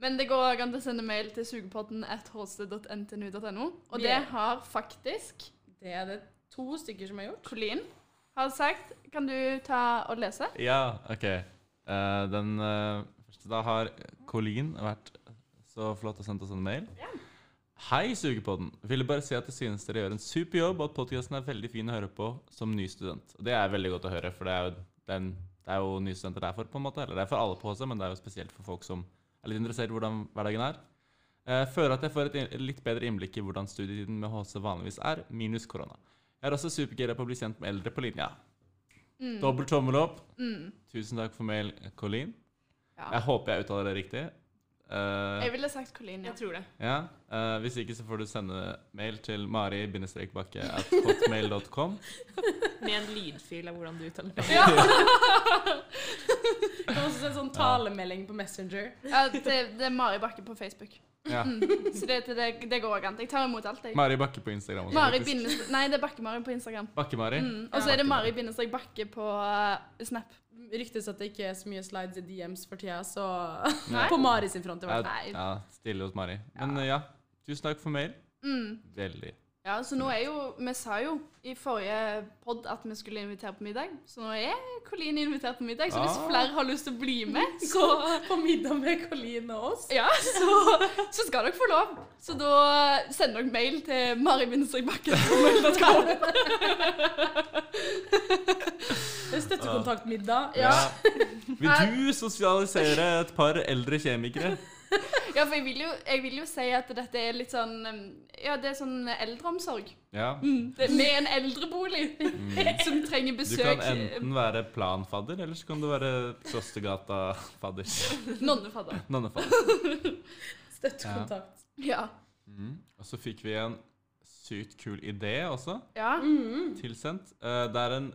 Men det går også an å sende mail til sugepodden at hc.ntnu.no, og Vi det er- har faktisk Det er det to stykker som har gjort. Colin har sagt. Kan du ta og lese? Ja, OK. Eh, den eh, første Da har Colleen vært så flott og sendt oss en mail. Hei, Sugepodden. Ville bare si at jeg synes dere gjør en super jobb, og at podkasten er veldig fin å høre på som ny student. Og det er veldig godt å høre, for det er jo, den, det er jo nye studenter det er for, på en måte. Eller det er for alle på HC, men det er jo spesielt for folk som er litt interessert i hvordan hverdagen er. Eh, føler at jeg får et in- litt bedre innblikk i hvordan studietiden med HC vanligvis er, minus korona. Jeg er også supergira på å bli kjent med eldre på linja. Mm. Dobbel tommel opp. Tusen takk for mail, Colleen. Ja. Jeg håper jeg uttaler det riktig. Eh, Jeg ville sagt Colin, ja. Jeg tror det. ja. eh, hvis ikke, så får du sende mail til mari-bakke at hotmail.com. Med en lydfil av hvordan du uttaler det. Ja, Det var også en sånn talemelding på Messenger. ja det, det er Mari Bakke på Facebook. Ja. Så det, det, det går an. Jeg tar imot alt, jeg. Mari Bakke på Instagram. også, Mari faktisk. bindestrek Nei, det er Bakke-Mari på Instagram. Bakke-Mari. Mm. Og så er det Mari bindestrek Bakke på eh, Snap. Ryktes at det ikke er så mye slides i DMs for tida, så Nei. På Mari sin front, i hvert fall. Ja, ja, stille hos Mari. Men eh, ja, tusen takk for mail. Mm. Veldig. Ja, så nå er jo Vi sa jo i forrige pod at vi skulle invitere på middag, så nå er Colleen invitert på middag. Så hvis Ah. flere har lyst til å bli med, Så på middag med Colleen og oss. ja, så, så skal dere få lov. Så da sender dere mail til Mari bindestrek Bakke. Det er Støttekontaktmiddag. Ja. Vil du sosialisere et par eldre kjemikere? Ja, for jeg vil, jo, jeg vil jo si at dette er litt sånn um, Ja, det er sånn eldreomsorg. Ja. Mm. Det, med en eldrebolig som trenger Du besøk. eh, kan enten være planfadder, eller så kan du være Klostergata-fadder. Nonnefadder. Nonnefadder. Støttekontakt. Ja. Mm. Og så fikk vi en sykt kul idé også. ja. tilsendt. Eh, det er en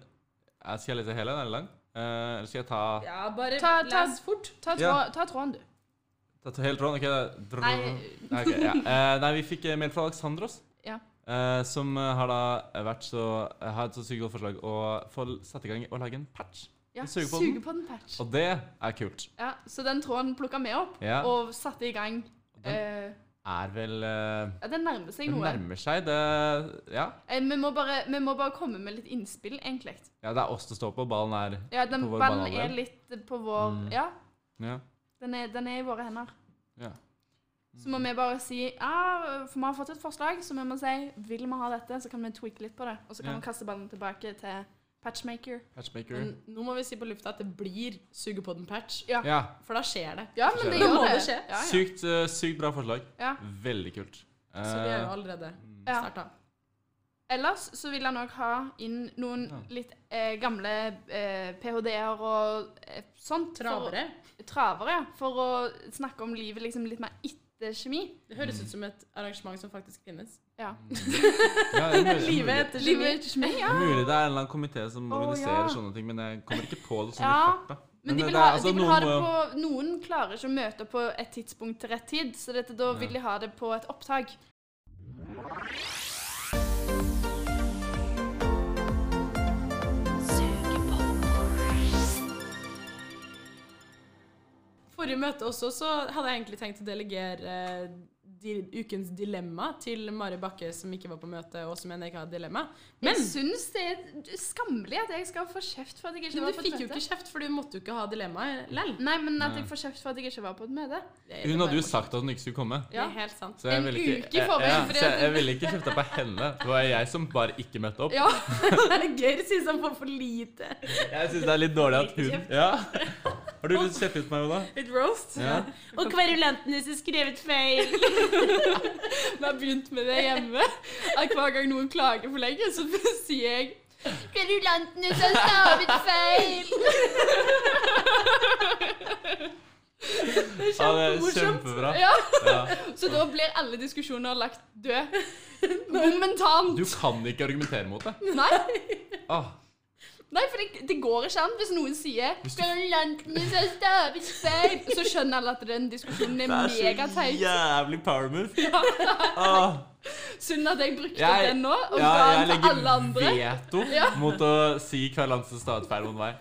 jeg Skal jeg lese hele? Den er lang. Eh, eller skal jeg ta, Ja, bare Ta- ta- les fort. Ta, trå, Ja. ta tråden, du. ta, ta hele tråden? Ok, da- Nei. Nei, ok, ja. Eh, nei, vi fikk eh, mail fra Alexandros. Ja. eh, som eh, har da vært så eh, har et så sykt godt forslag å få satt i gang og lage en patch. Ja. Suge på den. Suge på den patch. Og det er kult. Ja, så den tråden plukka vi opp Ja. og satte i gang. Den- Eh, Er vel eh, ja, den nærmer seg Det noe. nærmer seg det Ja. Eh, vi, må bare, vi må bare komme med litt innspill, egentlig. ja det er oss det står på. Ballen er Ja, den På vår Mm. ballen banehalvdel. er litt på vår Ja, Ja. den er, den er i våre hender. ja. Så må vi bare si ja, for vi har fått et forslag, så vi må si vil vi ha dette, så kan vi tweake litt på det. Og så kan Ja. vi kaste ballen tilbake til Patchmaker. Hatchmaker. Men Mm. nå må vi si på lufta at det blir sugepodden-patch. Ja. Ja. For da skjer det. Ja, skjer men det det. gjør Nå må det. det skje. Ja, ja. Sykt, eh, sykt bra forslag. Ja. Veldig kult. Så de er jo Eh, allerede Ja. starta. Ellers så vil han òg ha inn noen Ja. litt eh, gamle eh, ph.d.-er og eh, sånt. for- Travere. Travere, ja. For å snakke om livet liksom litt mer etter kjemi. Det høres ut som et arrangement som faktisk finnes. Ja. ja, det er mulig- Livet mulig- etter Livet kjemi. etter kjemi, ja. Det er Mulig det er en eller annen komité som Å, organiserer ja. sånne ting, men jeg kommer ikke på det sånn i Ja, farta. Men de det- vil det er ha, altså de vil ha noen det må jo- på Noen klarer ikke å møte opp på et tidspunkt til rett tid, så dette, da vil de ha det på et opptak. Forrige møte også så hadde jeg egentlig tenkt å delegere eh, di ukens dilemma til Mari Bakke, som ikke var på møtet, og som mener jeg ikke har dilemma. Men jeg syns det er skammelig at jeg skal få kjeft for at jeg ikke Men var du på et fikk jo møte. ikke kjeft, for du måtte jo ikke ha dilemmaet lell. Nei, men at Nei. jeg får kjeft for at jeg ikke var på et møte. Hun hadde jo sagt at hun ikke skulle komme. Ja, Ja. helt sant. Så jeg En ville ikke, uke i forveien, ja, så fordi jeg, at- jeg ville ikke kjefta på henne. Det var jeg som bare ikke møtte opp. Ja, det er gøy å si sånn for for lite. Jeg syns det er litt dårlig at hun ja. Har du lyst til å kjefte ut på meg, Oda? Litt roast. Ja. Og kverulanten hennes har skrevet feil. Vi har begynt med det hjemme. At hver gang noen klager for lenge, så sier jeg Kverulantene som stavet feil! ja, det er kjempemorsomt. kjempebra. Ja, Ja. Så da blir alle diskusjoner lagt død. Momentant. Du kan ikke argumentere mot det. Ah. Nei, Åh, nei for det, det går ikke an hvis noen sier Hvis du- 'Kverulantene som stavet feil', så skjønner alle at den diskusjonen er megateit. jævlig power move. Åh. Synd at jeg brukte Jeg- den nå, og Ja, ga jeg den til alle andre. legger veto mot å si kverulansen stavefeil mot meg.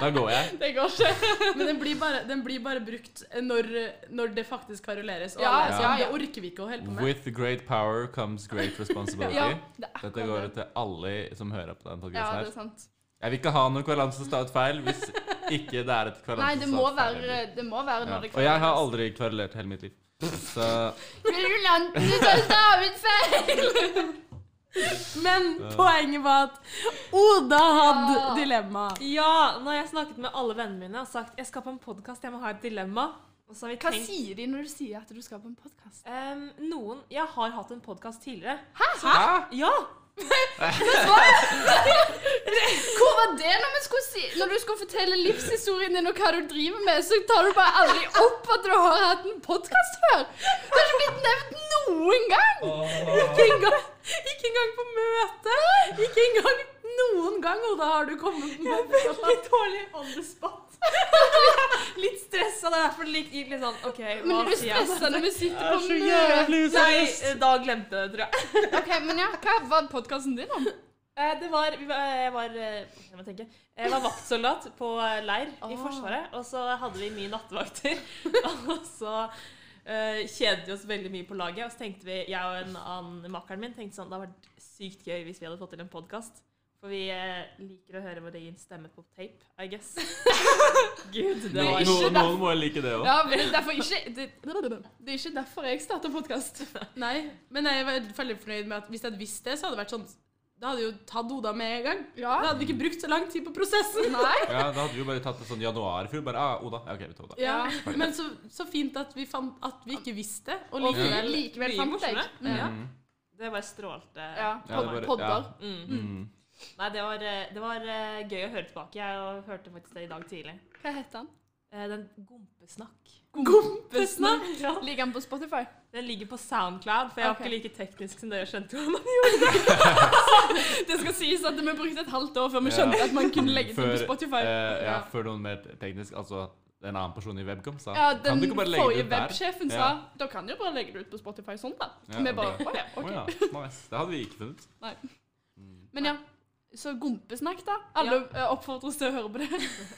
Da går jeg. Det går ikke. Men den blir bare, den blir bare brukt når, når det faktisk karoleres. Og Ja, alle er sånn, ja, ja. Det orker vi ikke å holde på med. With great power comes great responsibility. Ja, det er Dette akkurat går det. til alle som hører på den Ja, podkasten det her. er sant. Jeg vil ikke ha noe kverulansen stavefeil hvis ikke det er et Nei, kverulansen det må stavefeil. være, det må være ja. når det Og jeg har aldri kverulert hele mitt liv. Så Kverulantene som stavet feil! Men poenget var at Oda hadde Ja. dilemma. Ja, når jeg har snakket med alle vennene mine og sagt jeg skal på en podkast, jeg må ha et dilemma. Og så har vi Hva tenkt sier de når du sier at du skal på en podkast? ehm, Noen Jeg har hatt en podkast tidligere. Hæ? Ja! Hvor var det når, vi skulle si, når du skulle fortelle livshistorien din og hva du driver med, så tar du bare aldri opp at du har hatt en podkast før? Det har ikke blitt nevnt noen gang! Ikke engang, ikke engang på møte. Ikke engang noen gang, Oda, har du kommet med Litt dårlig on the spot. litt stressa, det er derfor det gikk litt sånn OK, hva Men det blir sier jeg? stressa når vi sitter på møte. jævlig Nei, eh, da glemte jeg det, tror jeg. Ok, men ja, Hva var podkasten din om? Eh, Det var, vi var, jeg, var, eh, jeg, må tenke, jeg var vaktsoldat på eh, leir i Ah. Forsvaret, og så hadde vi mye nattevakter. Og så eh, kjedet vi oss veldig mye på laget, og så tenkte vi, jeg og en annen makkeren min tenkte sånn, det hadde vært sykt gøy hvis vi hadde fått til en podcast. For vi eh, liker å høre vår egen stemme på tape, I guess. Gud, det Nei. var No, ikke noen må jo like det òg. Ja, men det er derfor ikke Det, det er ikke derfor jeg starta podkast. Nei, men jeg var veldig fornøyd med at hvis jeg hadde visst det, så hadde det vært sånn Da hadde jeg jo tatt Oda med en gang. Ja. Da hadde vi ikke brukt så lang tid på prosessen. Nei. Ja, da hadde vi jo bare tatt det sånn januar i fjor. Bare ah, Oda. Ja, OK, vi tar Oda. Ja, Men så, så fint at vi, fant, at vi ikke visste det. Og Og likevel, likevel, likevel mye fant jeg. morsommere. Ja. Mm. Det bare strålte. Ja, Ja, det pod- bare- podder. ja. Mm. Mm. Nei, det var, eh, det var eh, gøy å høre tilbake. Jeg hørte faktisk det i dag tidlig. Hva heter han? Eh, Den gompesnakk. Gompesnakk! Ja. Ligger han på Spotify? Den ligger på SoundCloud, for jeg Ok. var ikke like teknisk som dere skjønte. hva man- Det skal sies at vi brukte et halvt år før vi Ja. skjønte at man kunne legge det Før, på Spotify. eh, ja, ja. før noen mer teknisk Altså en annen person i Webcom sa Ja, Kan den du ikke bare legge det forrige ut der? websjefen sa da kan du jo bare legge det ut på Spotify sånn, da. Ja, vi bare ok. å ja, Å OK. ja, nice. Det hadde vi ikke funnet. Men ja. Så gompesnakk, da. Alle eh, oppfordres til å høre på det.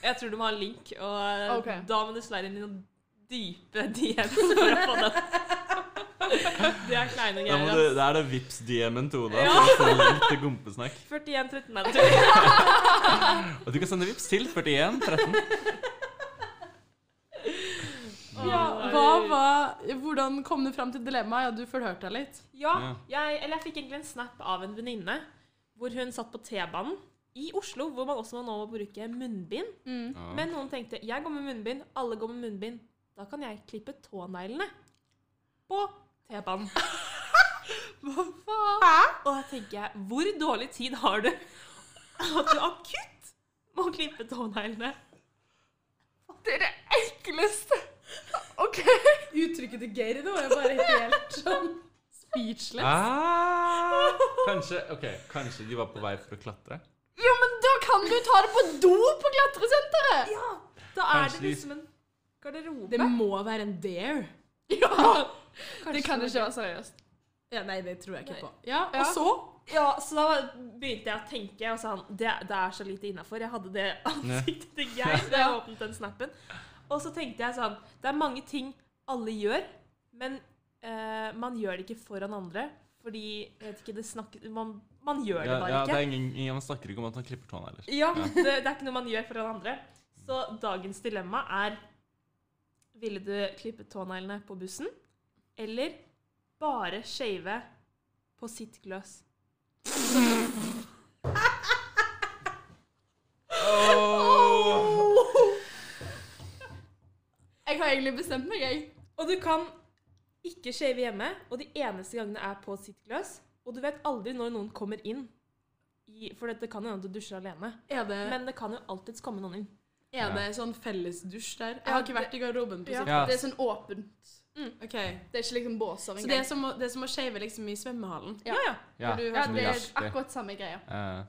Jeg tror du må ha en link, og eh, Ok. da må du slide inn i noen dype DMs for å få den. Det er kleine Da greier. må du, ass. det er det vips dm to da. For å få link til gompesnakk. 41 13 er det tror jeg. Og du kan sende vips til 41 13. Ja, hva var Hvordan kom du fram til dilemmaet? Ja, du forhørte deg litt. Ja, jeg, eller jeg fikk egentlig en snap av en venninne hvor hun satt på T-banen. i Oslo, hvor man også nå må bruke munnbind. Mm. Ja. Men noen tenkte jeg går med munnbind, alle går med munnbind. Da kan jeg klippe tåneglene på T-banen. Hva faen? Og da tenker jeg, hvor dårlig tid har du at du akutt må klippe tåneglene? Det er det enkleste. OK. Uttrykket til Geir nå er bare helt sånn speechless. Ah, kanskje, ok, kanskje de var på vei for å klatre? Jo, men da kan du ta det på do på klatresenteret! Ja, da er Kanskje det de- liksom en garderobe. Det må være en dare. Ja. Det Kanskje kan det ikke være seriøst. Ja, nei, det tror jeg ikke Nei. på. Ja, Ja. Og så Ja, så da begynte jeg å tenke, og sa han, det, det er så lite innafor. Jeg hadde det ansiktet til Geir da jeg åpnet den snappen. Og så tenkte jeg sånn Det er mange ting alle gjør, men eh, man gjør det ikke foran andre. Fordi jeg vet ikke, det snakker, man, man gjør det Ja, bare ja, det ikke. er ingen, ingen, man snakker ikke om at han klipper tåene heller. Ja, det, det er ikke noe man gjør foran andre. Så dagens dilemma er Ville du klippe tåneglene på bussen, eller bare shave på sitt gløs? Jeg har egentlig bestemt meg, jeg. Og du kan ikke shave hjemme, og de eneste gangene er på sitt gløs. Og du vet aldri når noen kommer inn. I, for det kan jo hende at du dusjer alene. er det, Men det kan jo alltids komme noen inn. er det sånn fellesdusj der. Jeg har ikke vært i garderoben. på Ja. Ja. Det er sånn åpent. sitt. Ok. Det er ikke liksom båser Så det engang. er som å, det er som å shave liksom i svømmehallen. Ja. ja. Ja, du- Ja, som det er jazz, det. akkurat samme greia. Eh.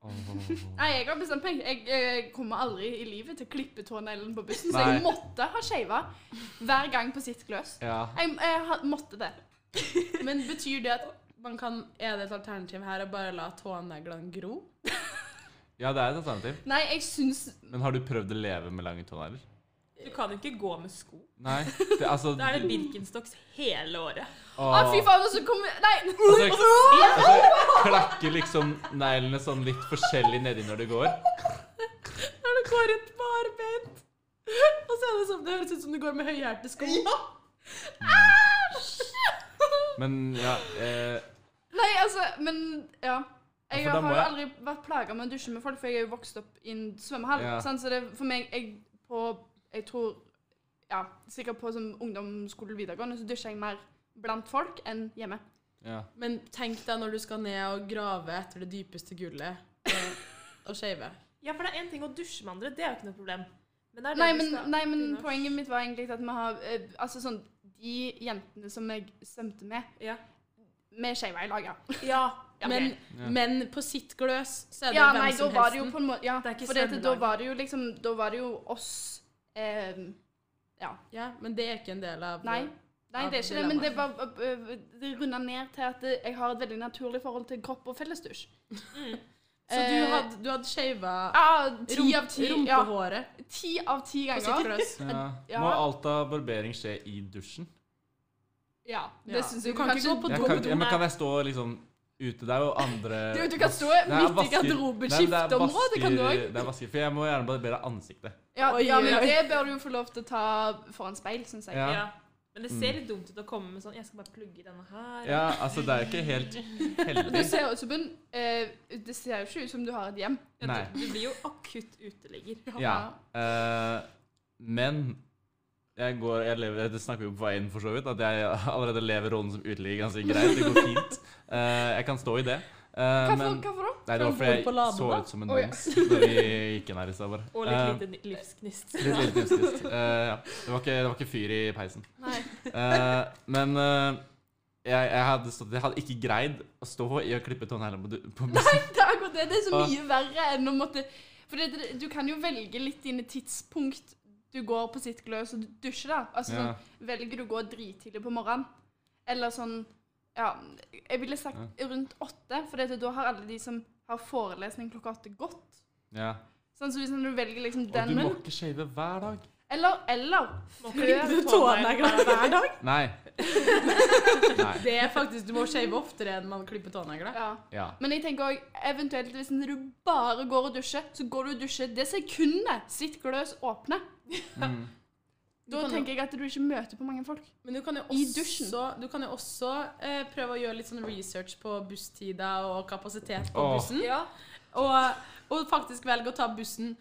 Åh. Nei, jeg har bestemt meg. Jeg, eh, kommer aldri i livet til å klippe tåneglen på bussen, så Nei. jeg måtte ha shava hver gang på sitt gløs. Ja. Jeg, jeg ha- måtte det. Men betyr det at man kan, er det et alternativ her å bare la tåneglene gro? ja, det er et alternativ. Nei, jeg syns Men har du prøvd å leve med lange tånegler? Du kan jo ikke gå med sko. Nei. Det, altså, Da er det Birkenstocks hele året. Åh. Å, Ah, fy faen, og så kommer Nei! Og så- og så altså, klakker liksom neglene sånn litt forskjellig nedi når det går. Når du går rundt barbeint! Og så er det sånn, det høres ut som du går med høyhælte sko. Men ja eh, Nei, altså, men ja. Jeg Ja, for da har må jo jeg- aldri vært plaga med å dusje med folk, for jeg er jo vokst opp i en svømmehall. Ja. sant? Så det er for meg jeg på Jeg tror Ja, sikkert på som ungdomsskole videregående, så dusjer jeg mer blant folk enn hjemme. ja. Men tenk deg når du skal ned og grave etter det dypeste gullet. og- Og shave. Ja, for det er én ting å dusje med andre. Det er jo ikke noe problem. Men det er det Nei du men, skal nei, men begynne å- poenget mitt var egentlig at vi har eh, Altså sånn De jentene som jeg svømte med, Ja. vi skeiva i lag, ja. ja. Ja, Men, Ja. men på sitt gløs så er det Ja, hvem nei, da som var det jo helst. på en måte Ja, Det er ikke for dette, da svømmelag. var det jo liksom Da var det jo oss eh, Ja, men det er ikke en del av Nei. Nei, Ja, det er ikke det, men det var ø- ø- Det runda ned til at eh, jeg har et veldig naturlig forhold til kropp og fellesdusj. Eh, Så du hadde, du hadde shava Ja, Eh, ti rump- av ti. Ja, rumpehåret ah, ti av ti på sitt ganger. gløs? ja. Ja. Må alt av barbering skje i dusjen? Ja, Ja. det syns jeg Du kan ikke gå på Jeg do kan, på ja, do. men kan jeg stå liksom ute? Det er jo andre Du, du kan stå Det er midt i vasker- Nei, garderobeskifteområdet, det er kan du vasker- òg. Det er vasker, for jeg må gjerne barbere ansiktet. Ja, Oi, ja, men oi, oi. det bør du jo få lov til å ta foran speil, syns jeg. Ja. Mm. ja. Men det ser litt dumt ut å komme med sånn Jeg skal bare plugge denne her. Ja, altså det er ikke helt Du heldig. ser ut som en eh, Det ser jo ikke ut som du har et hjem. Ja, Nei. Du, du blir jo akutt uteligger. Ja. eh, men jeg går, jeg lever, det snakker vi jo på vei inn for så vidt, at jeg allerede lever rollen som uteligger ganske greit. Det går fint. Eh, jeg kan stå i det. Eh, Hvorfor, men, hvorfor da? nei, det var fordi Hvorfor jeg lader så da? ut som en Å, ja. mons da vi gikk inn her i stad. bare. Og Eh, litt lite livsgnist. Litt lite tipsist. Eh, ja. det, var ikke, det var ikke fyr i peisen. Nei. Eh, men eh, jeg, jeg, hadde stått, jeg hadde ikke greid å stå i å klippe tåneglene på, du- på bussen. Det er akkurat det. Det er så Ah. mye verre enn å måtte For det, det, du kan jo velge litt dine tidspunkt du går på sitt gløs og du dusjer, da. Altså Ja. sånn Velger du å gå drittidlig på morgenen? Eller sånn Ja, jeg ville sagt rundt åtte, for det, da har alle de som har forelesning klokka åtte, gått. Ja. Sånn, så hvis du velger liksom Og den du må ikke shave hver dag. Eller, eller Må før klippe tåneglene hver dag? Nei. Nei. Det er faktisk, Du må shave oftere enn man klipper tånegler. Ja. Ja. Men jeg tenker òg eventuelt hvis du bare Mm. går og dusjer, så går du og dusjer det sekundet sitt gløs åpner. Da kan jo- tenker jeg at du ikke møter på mange folk. Men du kan jo I også, du kan jo også eh, prøve å gjøre litt sånn research på busstider og kapasitet på Åh. bussen. Og, og faktisk velge å ta bussen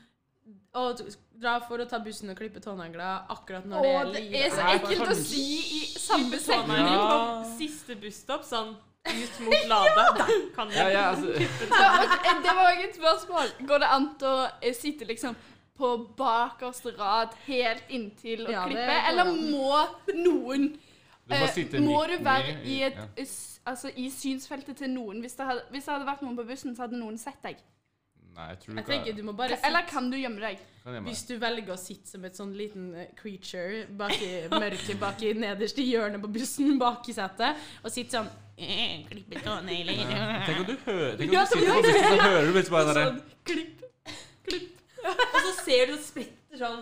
og t- dra for å ta bussen og klippe tånegler akkurat når Å, det det er er så sånn liv. Nei, ekkelt å kanskje. si i samme setning. Ja. Siste busstopp, sånn ut mot Lade. Der kan Ja, jeg ja, altså, Ja, og eh, det- Det var også et spørsmål. Går det an å eh, sitte liksom på bakerste rad helt inntil og Ja, det klippe, går eller an. må noen du må eh, sitte Må midt du være ned i, et, ja. s- altså, i synsfeltet til noen? Hvis det, hadde, hvis det hadde vært noen på bussen, så hadde noen sett deg. Nei, jeg tror du Jeg ikke tenker du må bare Eller sitte- kan du gjemme deg? Kan jeg Hvis du velger å sitte som et sånn liten eh, creature bak i mørket bak i nederste hjørnet på bussen, bak i setet, og sitte sånn eh, Klippe tånegler Ja. Tenk om du hører Tenk om Ja, du sitter på det- bussen, så hører du plutselig bare det Sånn, klipp. Og så ser du det spretter sånn.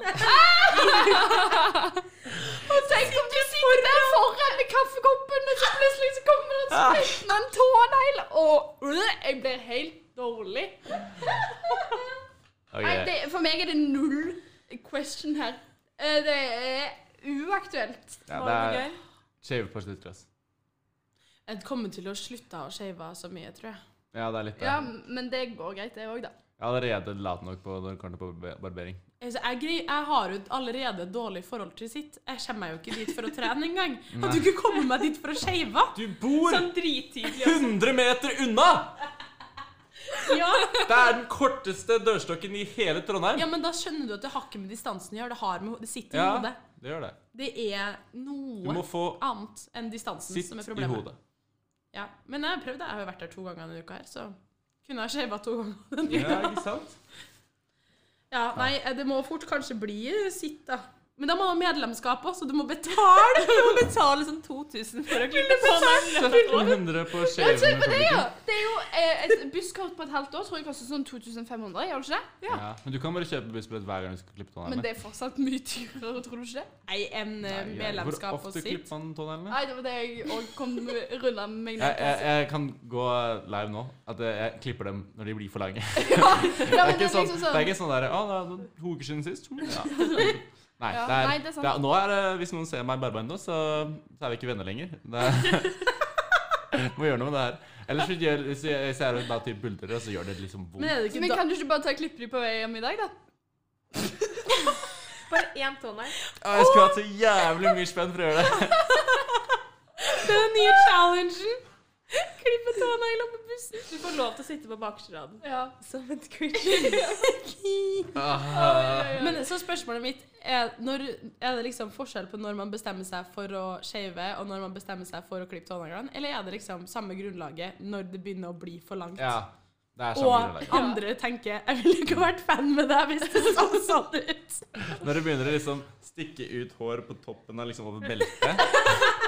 Og tenk om du sitter der Ah. foran med kaffekoppen, og så plutselig så kommer det en sprettende tånegl, og øh, jeg blir helt dårlig. Ok. Nei, det, for meg er det null question her. Eh, Det er uaktuelt. Ja, Var det det er gøy? shave på slutt, ass. Jeg kommer til å slutte å shave så mye, tror jeg. Ja, det er litt det. Ja, men det går greit, det òg, da. Jeg er allerede lat nok på når det kommer til barbe- barbering. Altså, jeg, grei, jeg har jo et allerede dårlig forhold til sitt. Jeg kommer meg jo ikke dit for å trene engang. At du ikke kommer meg dit for å shave! Du bor Sånn drittidlig. 100 meter unna! Ja. Det er den korteste dørstokken i hele Trondheim. Ja, men da skjønner du at det har ikke med distansen å gjøre. Det, har med, ho- det sitter i Ja, hodet. det gjør det. Det er Du må noe få annet enn distansen sitt som er i problemet. hodet. Ja. Men jeg har prøvd det. Jeg har jo vært der to ganger denne uka her, så kunne jeg shava to ganger. denne uka. Ja, ikke sant? Ja, nei, det må fort kanskje bli eh, sitt, da. Men da må man ha medlemskap òg, så du må betale! Du må betale sånn 2000 for å klippe på den. 1700 på shaving med Ja, publikum. det er jo eh, et busskort på et halvt år tror jeg koster sånn 2500, gjør det ikke det? Ja, men du kan bare kjøpe bussbillett hver gang du skal klippe Men tåneglene. det er fortsatt mye dyrere, tror du ikke det? Nei, en Nei, eh, jeg- medlemskap Hvor på ofte sitt. klipper man tåneglene? Nei, det var det jeg òg kom rulla med meg Jeg, ned jeg, jeg kan gå live nå. At jeg- jeg klipper dem når de blir for lange. Ja, men det, er ikke sånn, liksom det er ikke sånn der Å, det er noen to uker siden sist. Mm, Ja. Nei, Ja, det er, nei, det er sant. det er, nå er det, hvis noen ser meg barbeint nå, så, så er vi ikke venner lenger. Det er, må gjøre noe med det her. Ellers så gjør, hvis jeg, hvis jeg er da til buldrer, så gjør det liksom Men vondt. er det Men ikke da kan du ikke bare ta og klippe de på vei hjem i dag, da? Bare én tånegl. Å, Jeg skulle hatt så jævlig mye spenn for å gjøre det. den nye challengen? Klippe tånegler på bussen. Du får lov til å sitte på bakerste rad. Ja. Som et creature. Ah. Men så spørsmålet mitt er når, Er det liksom forskjell på når man bestemmer seg for å shave, og når man bestemmer seg for å klippe tåneglene? Eller er det liksom samme grunnlaget når det begynner å bli for langt? Ja, det er samme Og grunnlag. andre tenker 'jeg ville ikke vært fan med deg hvis det så sånn ut'. Når det begynner å liksom stikke ut hår på toppen av liksom over beltet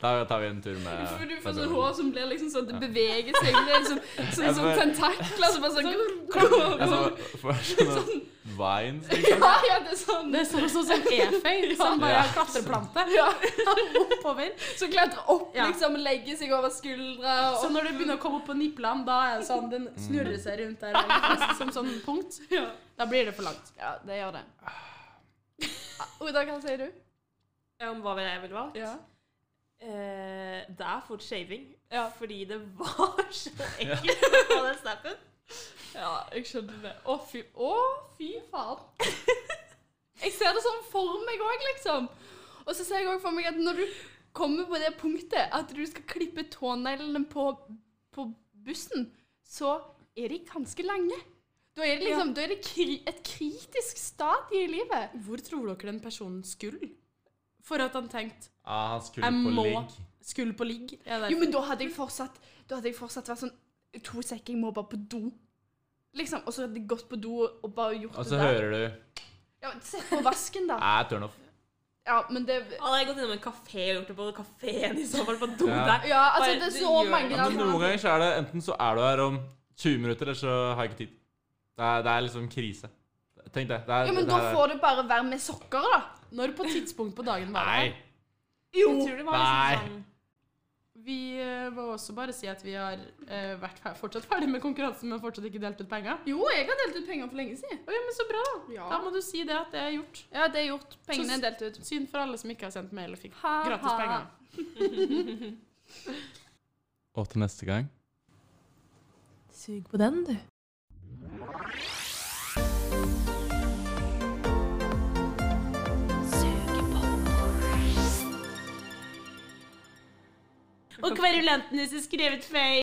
Da tar vi en tur med For du får med sånn broren. hår som blir liksom sånn at det beveger seg. Det er liksom, sånn, Jeg sånn bare- tentakler som bare sånn Altså, for sånne vines, liksom. Ja, ja, det er sånn. Det er sånn sånn som eføy, som bare Ja. har klatreplante Ja. oppover. Som klatrer opp, Ja. liksom, og legger seg over skuldra. Så Og, når det begynner å komme opp på niplene, da er det sånn den snurrer seg rundt der og- som sånn punkt. ja. Da blir det for langt. ja, det gjør det. Oda, hva sier du? Om hva jeg ville valgt? Ja. Eh, det er fort shaving. Ja. Fordi det var så ekkelt å få den snappen. ja, jeg skjønner det. Å, fy, å, fy faen. Jeg ser det sånn for meg òg, liksom. Og så ser jeg òg for meg at når du kommer på det punktet at du skal klippe tåneglene på, på bussen, så er de ganske lange. Da er det, liksom, da er det kri et kritisk stadie i livet. Hvor tror dere den personen skulle? For at han tenkte Ah, han skulle Jeg på må ligg. skulle på ligg. Er det Jo, men da hadde jeg fortsatt Da hadde jeg fortsatt vært sånn To sekker, jeg må bare på do. Liksom, Og så hadde jeg gått på do og bare gjort Og så det der. hører du Ja, men Sett på vasken, da. Æ, turn off. Ja, men det Hadde jeg gått innom en kafé og gjort det på kafeen i så fall, på do Ja. der Ja, altså, Bare, det er du så gjør det. Ja, mange men noen alternativer. ganger så er det enten så er du her om 20 minutter, eller så har jeg ikke tid. Det er, det er liksom krise. Tenk det. det er, Ja, men det da er- får det bare være med sokker, da. Når på tidspunkt på dagen var Nei. det? Jeg tror det var Nei. liksom sånn Vi eh, må også bare si at vi har eh, vært fer fortsatt ferdig med konkurransen, men fortsatt ikke delt ut penger. Jo, jeg har delt ut penger for lenge siden. Å ja, men så bra! Da Ja, må du si det at det er gjort. ja det er gjort. Pengene Så- er delt ut. Synd for alle som ikke har sendt mail og fikk Ha, gratis ha. penger. Og til neste gang Sug på den, du. Og kverulantene som skrevet feil.